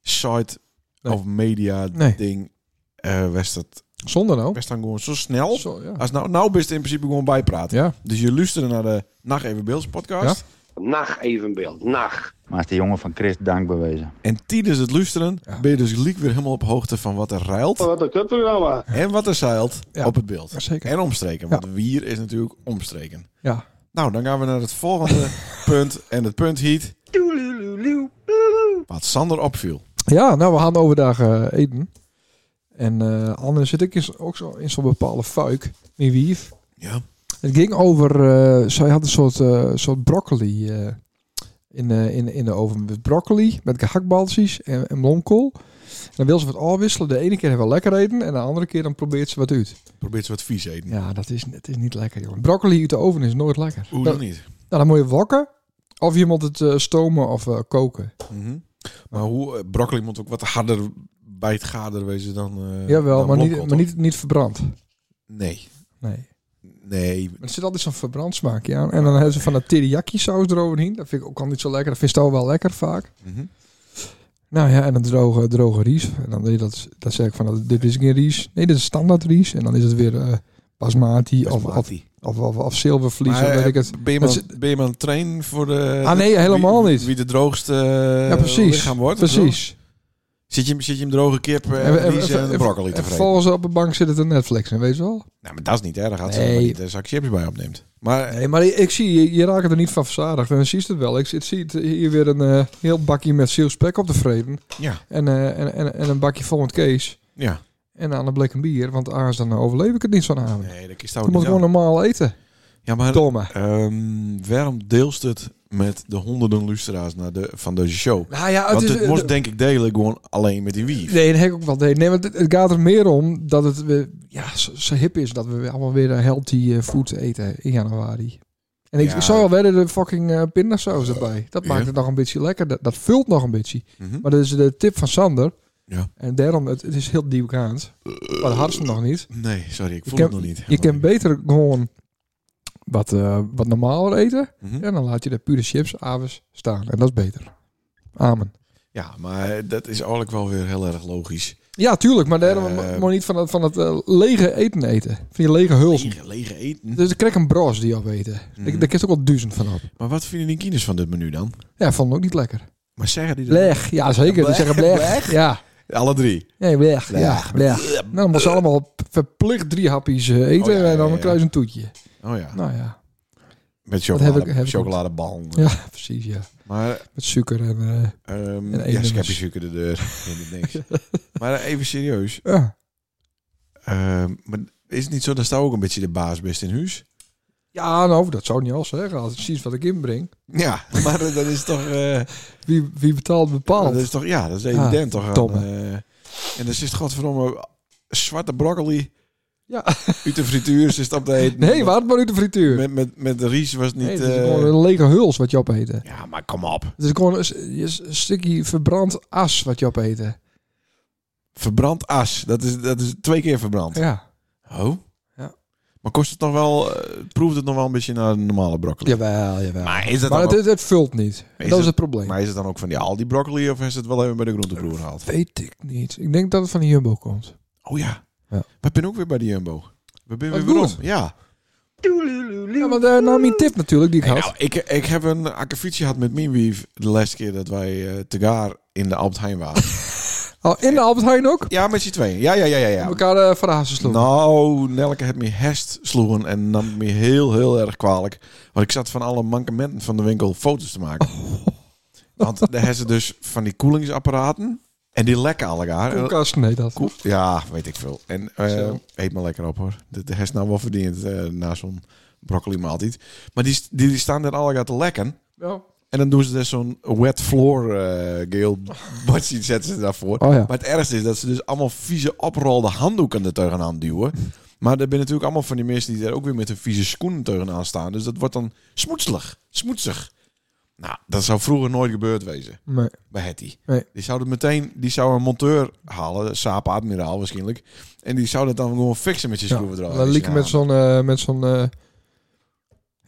site Nee. of media Nee. ding. Eh West dat Zonder nou. West dan gewoon zo snel. Zo, ja. Als nou, nou bist in principe gewoon bijpraten. ja. Dus je luisteren naar de Nacht Even Beelds podcast. Nacht evenbeeld, nacht. Maar is de jongen van Chris dank bewezen. En tijdens het luisteren Ja. ben je dus liek weer helemaal op hoogte van wat er ruilt. Wat een kutprogramma. En wat er zeilt Ja. op het beeld. Ja, zeker. En omstreken, want wier is natuurlijk omstreken. Ja. Nou, dan gaan we naar het volgende punt. En het punt heet... Wat Sander opviel. Ja, nou, we gaan overdag eh, eten. En eh anders zit ik is ook zo in zo'n bepaalde fuik. Mijn wief. Ja. Het ging over... eh, zij had een soort, eh, soort broccoli eh, in, eh, in, in de oven. Met broccoli, met gehaktbalsies en, en bloemkool. En dan wil ze wat afwisselen. De ene keer hebben we lekker eten. En de andere keer dan probeert ze wat uit. Probeer ze wat vies eten. Ja, dat is, het is niet lekker, jongen. Broccoli uit de oven is nooit lekker. Hoe dat, dan niet? Nou, dan moet je wakken. Of je moet het eh, stomen of eh, koken. Mhm. Maar hoe... eh, Broccoli moet ook wat harder bij het gader wezen dan... eh, Jawel, dan maar, niet, blokkool, maar niet, niet verbrand. toch? Nee. Nee. Nee. Maar er zit altijd zo'n verbrand smaakje aan. En dan hebben ze van dat teriyaki saus eroverheen. Dat vind ik ook al niet zo lekker. Dat vindt al wel lekker vaak. Mhm. Nou ja, en dan droge, droge ries. En dan, doe je dat, dat zeg ik van, dat- dit is geen ries. Nee, dit is standaard ries. En dan is het weer eh basmati of, of, Basmati. of, of, of zilvervlies. Maar, of eh, weet ik het. Ben je maar, Dat ben je maar een train voor de... Ah, nee, helemaal wie- niet. Wie de droogste eh, Ja, precies. lichaam wordt. Precies. Zit je, zit je hem droge kip En we- en, en- en, en- en broccoli te vreten? en vervolgens op de bank zit het een Netflix, en weet je wel? Nou, maar dat is niet erg. Als ze Nee. er niet een zak chips bij opneemt. Maar Nee, maar ik zie, je, je raakt er niet van verzadigd. En dan zie je het wel. Ik zie- zie het hier weer een eh, heel bakje met zielspek op te vreten. ja, En, eh, en, en, en een bakje vol met Kees. ja. En aan een blik een bier. Want anders dan overleef ik het niet zo'n avond. Nee, dat is daar Je ook moet niet gewoon aan. normaal eten. Ja, maar Domme. ehm, waarom deelst het met de honderden luisteraars naar de, van deze show? Nou ja, Want het is... het moest denk ik delen gewoon alleen met die wief. Nee, dat heb ik ook wel. Nee, nee want het, het gaat er meer om dat het weer, ja, zo, zo hip is dat we weer allemaal weer healthy eh, food eten in januari. En ik, Ja. ik zou al wedden de fucking eh, pindasaus erbij. Dat maakt Ja. het nog een beetje lekker. Dat, dat vult nog een beetje. Mhm. Maar dat is de tip van Sander. Ja. En daarom, het, het is heel diepgaand. Maar dat had ze nog niet. Nee, sorry, ik Je voel kan- het nog niet. Je kan beter gewoon wat, eh, wat normaler eten. Mhm. En dan laat je de pure chips, aves staan. En dat is beter. Amen. Ja, maar eh, dat is eigenlijk wel weer heel erg logisch. Ja, tuurlijk. Maar daarom Eh, mo- moet je niet van dat, van dat eh, lege eten eten. Van je lege hulzen. Lege, lege eten. Dus ik krijg een bros die al weten. Mhm. Ik Daar kist ook wel duizend van op. Maar wat vinden die kines van dit menu dan? Ja, vond ik ook niet lekker. Maar zeggen die dat? Leg. Ja, zeker. Die zeggen leg. Ja. Alle drie. Nee, leg. Ja, Leg. leg. Nou, dan moeten ze allemaal verplicht drie hapjes eh, eten. Oh, ja, en dan ja, ja. krijg je een toetje. Oh ja, Nou ja. met dat heb ik- chocolade, heb ik- chocoladebal. Ja, precies, ja. Maar Met suiker en... eh, Ehm En één ja, nummer. schepje suiker de deur. Ik weet het niks. maar even serieus. ja. Ehm, maar is het niet zo dat sta ook een beetje de baas best in huis? ja, nou, dat zou ik niet al zeggen. Als het precies wat ik inbreng. Ja, maar dat is toch... eh, Wie, wie betaalt bepaalt. dat is toch ja, dat is Ah, evident toch? aan, domme. eh, en dan zit godverdomme zwarte broccoli Ja. Uit de frituur ze stapt te eten. Nee, waard maar uit de frituur. Met, met, met de ries was het niet... nee, het is eh, gewoon een lege huls wat je opeten. Ja, maar kom op. Het is gewoon een, s- een stukje verbrand as wat je opeten. Verbrand as. Dat is, dat is twee keer verbrand. Ja. Oh. Ja. Maar kost het nog wel... eh, proeft het nog wel een beetje naar een normale broccoli? Jawel, jawel. Maar, Maar is dat het, dan ook... het, het vult niet. dat het- is het probleem. Maar is het dan ook van die Aldi broccoli of is het wel even bij de groentebroer gehaald? Weet ik niet. Ik denk dat het van de Jumbo komt. Oh ja. Ja. We zijn ook weer bij de Jumbo. We zijn Wat weer waarom? goed. Ja. Ja, maar daar nam je tip natuurlijk die ik Hey, had. nou, ik, ik heb een akkefietje gehad met Minwief de laatste keer dat wij eh, te Gaar in de Albert Heijn waren. Oh, in de Albert Heijn ook? ja, met z'n tweeën. Ja, ja, ja, ja. ja. Elkaar eh verhazen sloegen. Nou, Nelke heeft me hest sloegen en nam het me heel, heel erg kwalijk. Want ik zat van alle mankementen van de winkel foto's te maken. Want daar hebben ze dus van die koelingsapparaten en die lekken alle elkaar. Koelkast, nee dat. Koel- Ja, weet ik veel. En eh, Zo. eet maar lekker op hoor. De, de heeft nou wel verdiend eh, na zo'n broccoli maaltijd. Maar die, die, die staan daar allemaal te lekken. Ja. En dan doen ze dus zo'n wet floor eh geel badje zetten ze daarvoor. Oh ja. Maar het ergste is dat ze dus allemaal vieze oprolde handdoeken er tegenaan duwen. Maar er zijn natuurlijk allemaal van die mensen die daar ook weer met hun vieze schoenen tegenaan staan. Dus dat wordt dan smoetselig. Smoetsig. Nou, dat zou vroeger nooit gebeurd wezen Nee. bij Hetty. Nee. Die zou het meteen, die zou een monteur halen, Saap Admiraal waarschijnlijk. En die zou dat dan gewoon fixen met je Ja. schroevendraaier. Dan lieken met zo'n... eh, met zo'n eh,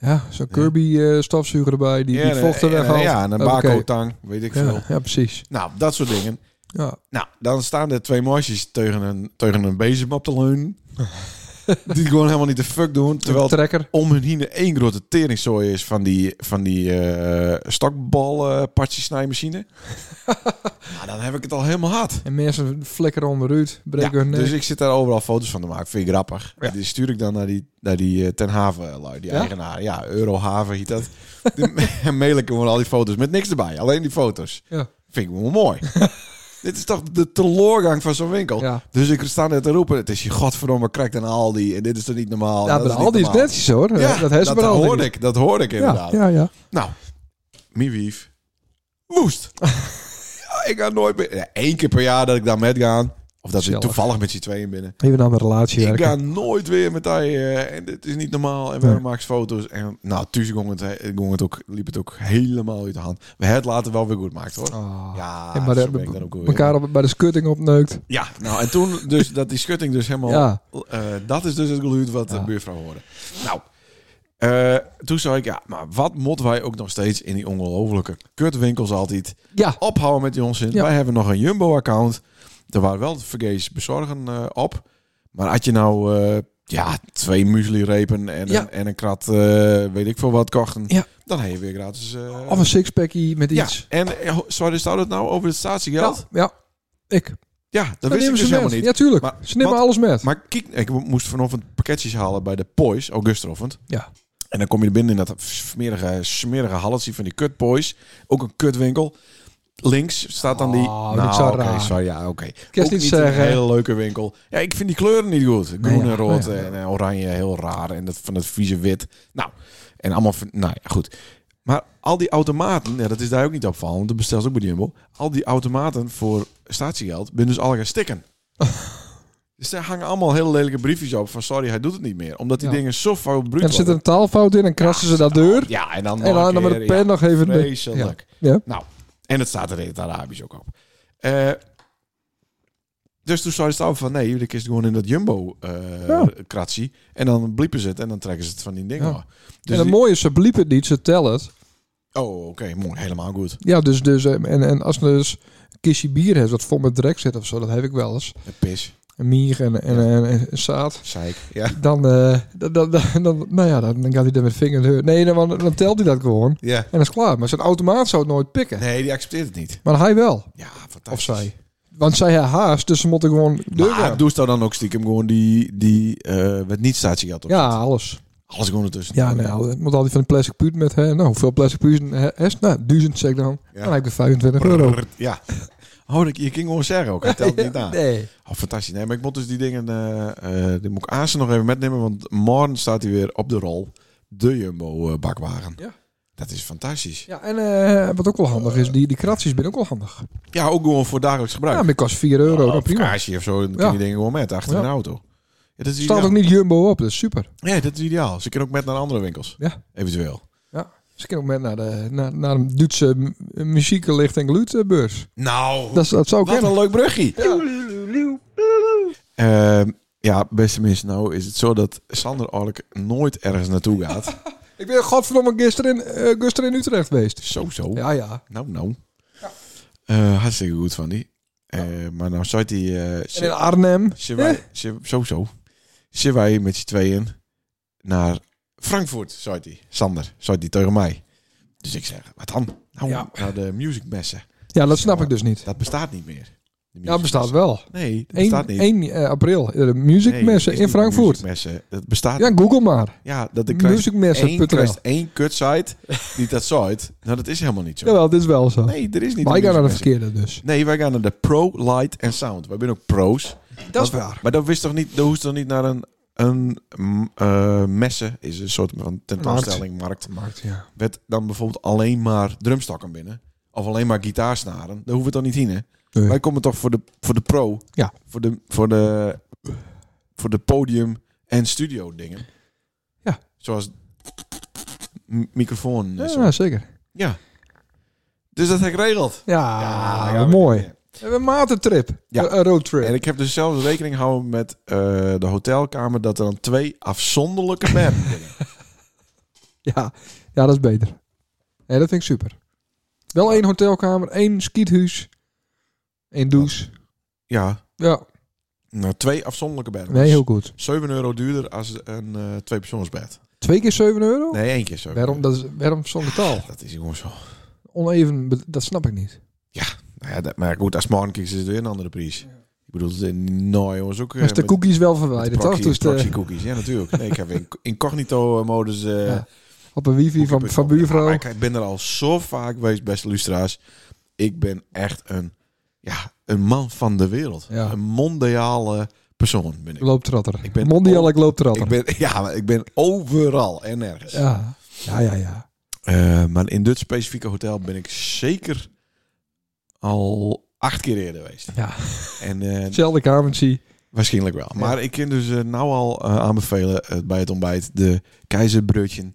ja, zo'n Kirby-stofzuiger erbij. Die, die vocht er en- weghaalt. Ja, en een Hoppakee. bako-tang, weet ik veel. Ja, ja, precies. Nou, dat soort dingen. Ja. Nou, dan staan er twee meisjes tegen een, tegen een bezem op te leunen. die gewoon helemaal niet de fuck doen. Terwijl Een trekker. om hun heen één grote teringzooi is van die, van die eh stokbal eh partjesnijmachine. nou, dan heb ik het al helemaal hard. En mensen flikkeren onderuit. Breken Ja, hun nek. dus ik zit daar overal foto's van te maken. Vind ik grappig. Ja. Die stuur ik dan naar die, naar die eh, Ten Haven lui, die Ja? eigenaar. Ja, Eurohaven heet dat. en mail ik hem gewoon al die foto's met niks erbij. Alleen die foto's. Ja. Vind ik wel mooi. Dit is toch de teleurgang van zo'n winkel. Ja. Dus ik sta net te roepen. Het is je godverdomme krek en Aldi. En dit is toch niet normaal. Ja, dat maar is niet al die is normaal. netjes hoor. Ja, dat heeft ze dat maar al. hoorde ik. Dat hoorde ik Ja, inderdaad. ja, ja. Nou, Miewief. Woest. ja, ik ga nooit meer... Ja, Eén keer per jaar dat ik daar met ga. Of dat ik Gezellig. toevallig met z'n tweeën binnen. Even aan de relatie Ik werken. ga nooit weer met hij eh, en dit is niet normaal. En we Nee. maken foto's. En nou, thuis ging het, he- ging het ook, liep het ook helemaal uit de hand. We hebben het later wel weer goed gemaakt hoor. Ah. Ja, en maar zo de- ben ik dan ook wel weer. elkaar op, bij de skutting opneukt. Ja, nou en toen dus dat die schutting dus helemaal... Ja. eh, dat is dus het geluid wat Ja. de buurvrouw hoorde. Nou, eh, toen zei ik, ja, maar wat moeten wij ook nog steeds in die ongelofelijke kutwinkels altijd Ja. ophouden met die onzin. Ja. Wij hebben nog een Jumbo-account. Er waren wel vergees bezorgen eh, op. Maar had je nou eh, ja, twee muesli-repen en, Ja. een, en een krat, eh, weet ik veel wat, kochten, Ja. dan heb je weer gratis... eh, Of een sixpackie met ja, iets. en eh, ho- sorry, staat het nou over het Ja, statiegeld? ja. Ik. Ja, dat wist ik nemen dus ze helemaal met. niet. Ja, tuurlijk. Maar- ze nemen want- alles met. Maar kijk, ik moest vanochtend pakketjes halen bij de Poys, Augustroffend. Ja. En dan kom je er binnen in dat smerige, smerige halletje van die kut Poys. Ook een kutwinkel. Links staat dan die... Nou, Oh, dit is zo oké, raar. sorry, ja, oké. je Ook niet een zeggen. hele leuke winkel. Ja, ik vind die kleuren niet goed. Groen ja, en rood ja. en eh, oranje, heel raar. En dat van het vieze wit. Nou, en allemaal... van- Nou ja, goed. Maar al die automaten, ja, dat is daar ook niet opvallend, want dat bestelt ook bij die Jumbo. Al die automaten voor statiegeld, ben dus alle gaan stikken. dus daar hangen allemaal hele lelijke briefjes op van sorry, hij doet het niet meer. Omdat die Ja. dingen zo fout bruut en er zit worden. een taalfout in en krassen ze dat deur. Ja, en dan, nog en dan, een dan met keer, de pen ja, nog even... de- Vreselijk. Ja. Ja. Nou, en het staat er in het Arabisch ook op. Eh, dus toen zei ze het af van nee, jullie kist gewoon in dat jumbo eh Ja. kratzie. En dan bliepen ze het en dan trekken ze het van die dingen. Ja. af. en Dus het die- mooie is, ze bliepen het niet, ze tellen het. oh, oké, mooi, helemaal goed. Ja, dus, dus eh, en, en als je dus een kistje bier hebt wat vol met drek zit of zo, dat heb ik wel eens. Pis, Een mier en, en, en, en- en zaad. zeik, ja. Dan, eh, dan, dan, dan- dan- nou ja, dan, dan gaat hij er met vinger in de- Nee, dan, dan telt hij dat gewoon. Ja. En dat is klaar. Maar zo'n automaat zou het nooit pikken. Nee, die accepteert het niet. Maar hij wel. Ja, fantastisch. Of zij. Want zij haast, dus ze moeten gewoon deur Maar gaan. doe ze dan ook stiekem gewoon die, die eh met niet statie had op Ja, alles. Alles gewoon ertussen. Ja, nou, het moet altijd van die plastic puut met. Hè. Nou, hoeveel plastic puut is? Nou, duizend zeg ik dan. Ja. Dan heb ik er 25 euro. Ja. Oh, dat, je ging gewoon zeggen ook. Hij telt niet aan. Nee. Oh, fantastisch. Nee, maar ik moet dus die dingen... eh, eh, die moet ik Azen nog even metnemen, want morgen staat hij weer op de rol. De Jumbo-bakwagen. Ja. Dat is fantastisch. Ja, en eh, wat ook wel handig is, die, die kratjes ben ook wel handig. Ja, ook gewoon voor dagelijks Ja, gebruik. maar die kost 4 euro. Oh, nou, of prima. kaarsje of zo, dan kun je Ja. die dingen gewoon met achter Ja. een auto. Ja, dat is Staat ideaal. ook niet Jumbo op, dat is super. Nee, dat is ideaal. Ze kunnen ook met naar andere winkels. Ja. Eventueel. Ze kunnen ook met naar de, naar, naar de Duitse m- muzieklicht- en glutenbeurs. Nou, Dat, is- dat zou ik wat kennen. een leuk brugje. Ehm, ja, beste mensen, nou is het zo dat Sander eigenlijk nooit ergens naartoe gaat. Ik ben godverdomme gisteren in, eh, gisteren in Utrecht geweest. Dus zo, zo. Ja, ja. Nou, nou. Eh, hartstikke goed van die. Eh, Maar nou zat hij... eh, En Eh? in Arnhem. Zijn wij, zijn- zo zo. Zijn wij met z'n tweeën naar Frankfurt, zei hij. Sander, zei hij tegen mij. Dus ik zeg, wat dan? Nou, Ja. naar de musicmessen. Ja, dat snap ik dus niet. Dat bestaat niet meer. De Ja, bestaat musicmessen. wel. Nee, dat 1, bestaat niet. 1 eh, april, de Nee, het muziekmessen is in niet Frankfurt. musicmessen. Dat bestaat. Ja, Ja, google maar. dat ik krijg één, Muziekmessen.nl krijg één kutsite die dat site. Nou, dat is helemaal niet zo. Jawel, dit is wel zo. Nee, er is niet maar een ik ga naar de musicmessen. verkeerde dus. Nee, wij gaan naar de Pro Light en Sound. Wij zijn ook pro's. Dat is Want- waar. Maar dat wist toch niet, dat hoeft toch niet naar een, een mm, eh, messen, is een soort van tentoonstelling, markt. Markt, ja. Werd dan bijvoorbeeld alleen maar drumstokken binnen. Of alleen maar gitaarsnaren. Daar hoeven we toch niet heen, hè? Nee. Wij komen toch voor de, voor de pro. Ja. Voor de, voor de, voor de podium en studio dingen. Ja. Zoals m- microfoon. en zo. Ja, zeker. ja. Dus dat heb ik geregeld. Ja, daar wat gaan we mooi. weer. We hebben een matentrip. Ja. Een een roadtrip. En ik heb dus zelfs rekening gehouden met eh, de hotelkamer dat er dan twee afzonderlijke bedden binnen. Ja. ja, dat is beter. Nee, dat vind ik super. Wel één hotelkamer, één skiethuis, één douche. Ja, Ja, nou, twee afzonderlijke bedden. nee, heel goed. 7 euro duurder als een eh tweepersoonsbed. Twee keer 7 euro? Nee, één keer zo. Oh. Waarom, dat is, waarom zo'n betaal? Dat is gewoon zo. Oneven, be- dat snap ik niet. Nou ja, dat, maar goed, als morgen kijkt, is het weer een andere prijs. Ik bedoel, het is nou jongens ook... eh, Als de met- cookies wel met verwijderd, toch? proxy, Dus de- proxy cookies, ja natuurlijk. Nee, ik heb in incognito-modus... eh Ja, op een wifi van, cookie- van Ja, buurvrouw. maar ik, ik ben er al zo vaak geweest, beste lustra's. Ik ben echt een, ja, een man van de wereld. Ja. Een mondiale persoon ben ik. Looptratter. Ik ben Mondiaal on- ik looptratter. Ik ben, ja, maar ik ben overal en nergens. Ja, ja, ja. ja. Eh, maar in dit specifieke hotel ben ik zeker al acht keer eerder geweest. Ja. En eh, Hetzelfde kamertje. waarschijnlijk wel. Maar ik kan dus eh, nou al eh, aanbevelen eh, bij het ontbijt de keizerbrutje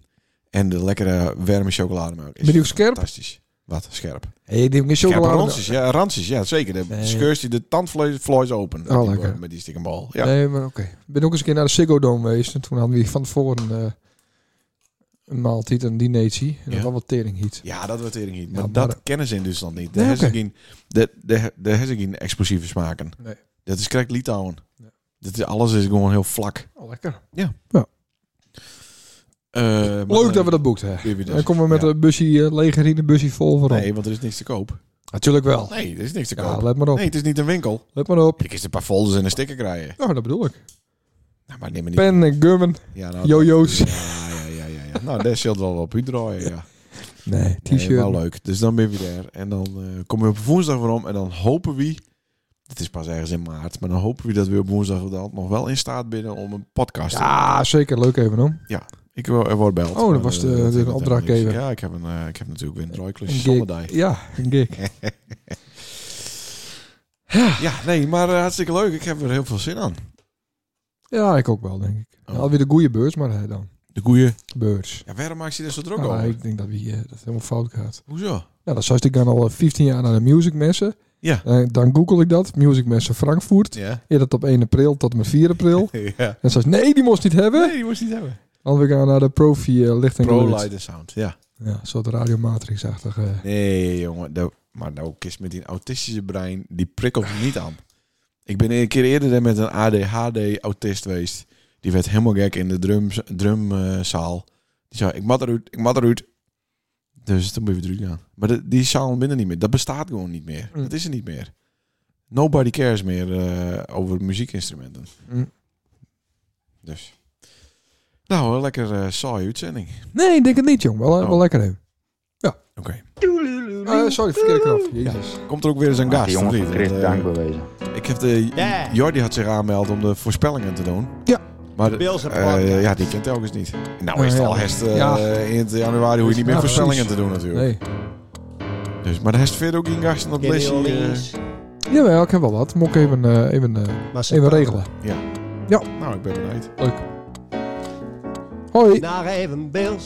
en de lekkere warme chocolademelk. Is Ben je ook scherp? Fantastisch. Wat scherp. Hé, die heb ik Scherpe chocolade. ransies, ja, ransies, ja, zeker. De Nee. scheurst die de tandvlees vlees open met, Oh, die, lekker. met die stikkenbal. Ja. Nee, maar oké. Ik ben ook eens een keer naar de Ziggo Dome geweest. En toen hadden we van tevoren eh, een maaltijd, een dinertje. En Ja. dat was wat tering heat. Ja, dat wordt tering niet. Ja, Maar, maar dat dat- kennen ze in Duitsland niet. De Nee, nee, oké. de, de, de Herzegin explosieve smaken. Nee. Dat is correct Litouwen. Ja. Dat is, alles is gewoon heel vlak. Eh, Oh, lekker. Leuk dat we dat boekt, hè. Dan komen we met een busje, eh, legerine busje vol voor dus. Nee, want er is niks te koop. Natuurlijk wel. Nee, er is niks te Ja, koop. let maar op. nee, het is niet een winkel. Let maar op. Ik is een paar folders en een sticker krijgen. Nou, dat bedoel ik. Nou, maar neem me niet. Pen en gummen. ja, nou, jojo's. Ja, ja, ja, ja, ja. Nou, daar zult wel op u draaien, ja. Nee, Nee, t-shirt. wel leuk. Dus dan ben je weer daar. En dan eh, komen we op woensdag weer om. En dan hopen we... Het is pas ergens in maart. Maar dan hopen we dat we op woensdag dan nog wel in staat binnen om een podcast te doen. ja, zeker. Leuk even, hoor. Ik word, er wordt beld. eh, Oh, dat was de- de opdrachtgever. Ja, ik heb, een, eh, ik heb natuurlijk weer een draaiklus. Een Zonder gig. Ja, een gig. Ja, nee, maar eh, hartstikke leuk. Ik heb er heel veel zin aan. Ja, ik ook wel, denk ik. Oh. Alweer de goede beurs, maar hè, dan. De goeie. Beurs. Ja, waarom maakt je er zo druk Ah, over? ik denk dat we hier dat het helemaal fout gaat. Hoezo? Nou, dan zoals ik dan al eh, 15 jaar naar de musicmessen. Ja. Eh, dan google ik dat. Musicmessen Frankfurt. Ja. Eer dat op 1 april tot en met 4 april. ja. En zoals nee, die moest niet hebben. Nee, je moest niet hebben. Want we gaan naar de Profi eh, Licht en Pro Geluid. Light and Sound, ja. Ja, een soort radiomatrixachtige. eh. Nee, jongen. dat- maar nou, kist met die autistische brein, die prikkelt me niet aan. Ik ben een keer eerder met een ADHD-autist geweest. Die werd helemaal gek in de drumzaal. Drum, eh, zaal. die zei, ik mat eruit, ik mat eruit. Dus toen ben je eruit gaan. Maar de- die zaal binnen niet meer. Dat bestaat gewoon niet meer. Mm. Dat is er niet meer. Nobody cares meer eh, over muziekinstrumenten. Mm. Dus. Nou, een lekker eh saaie uitzending. Nee, ik denk het niet, jong. Wel, eh, wel Oh. lekker even. Oké. Eh, sorry, verkeerde knop. Jezus. Komt er ook weer eens een Ach, gast? de jongen of van niet? Chris Want, eh, dank bewezen. Ik heb de Ja. Jordi had zich aangemeld om de voorspellingen te doen. Ja. Maar de- Bills en eh, Parker. ja, die kent telkens niet. Nou Eh, is het ja. al herst eh, Ja. in het januari hoe je niet meer Ja, voorspellingen precies. te doen natuurlijk. Nee. Dus, maar de herst verder ook in gasten op het Kenny lesje. eh, Orleans. Jawel, ik heb wel wat. Moet ik even, eh, even, eh, Maar ze even praten. regelen. Ja. Ja. Nou, ik ben benijd. Hoi. Naar even Bills.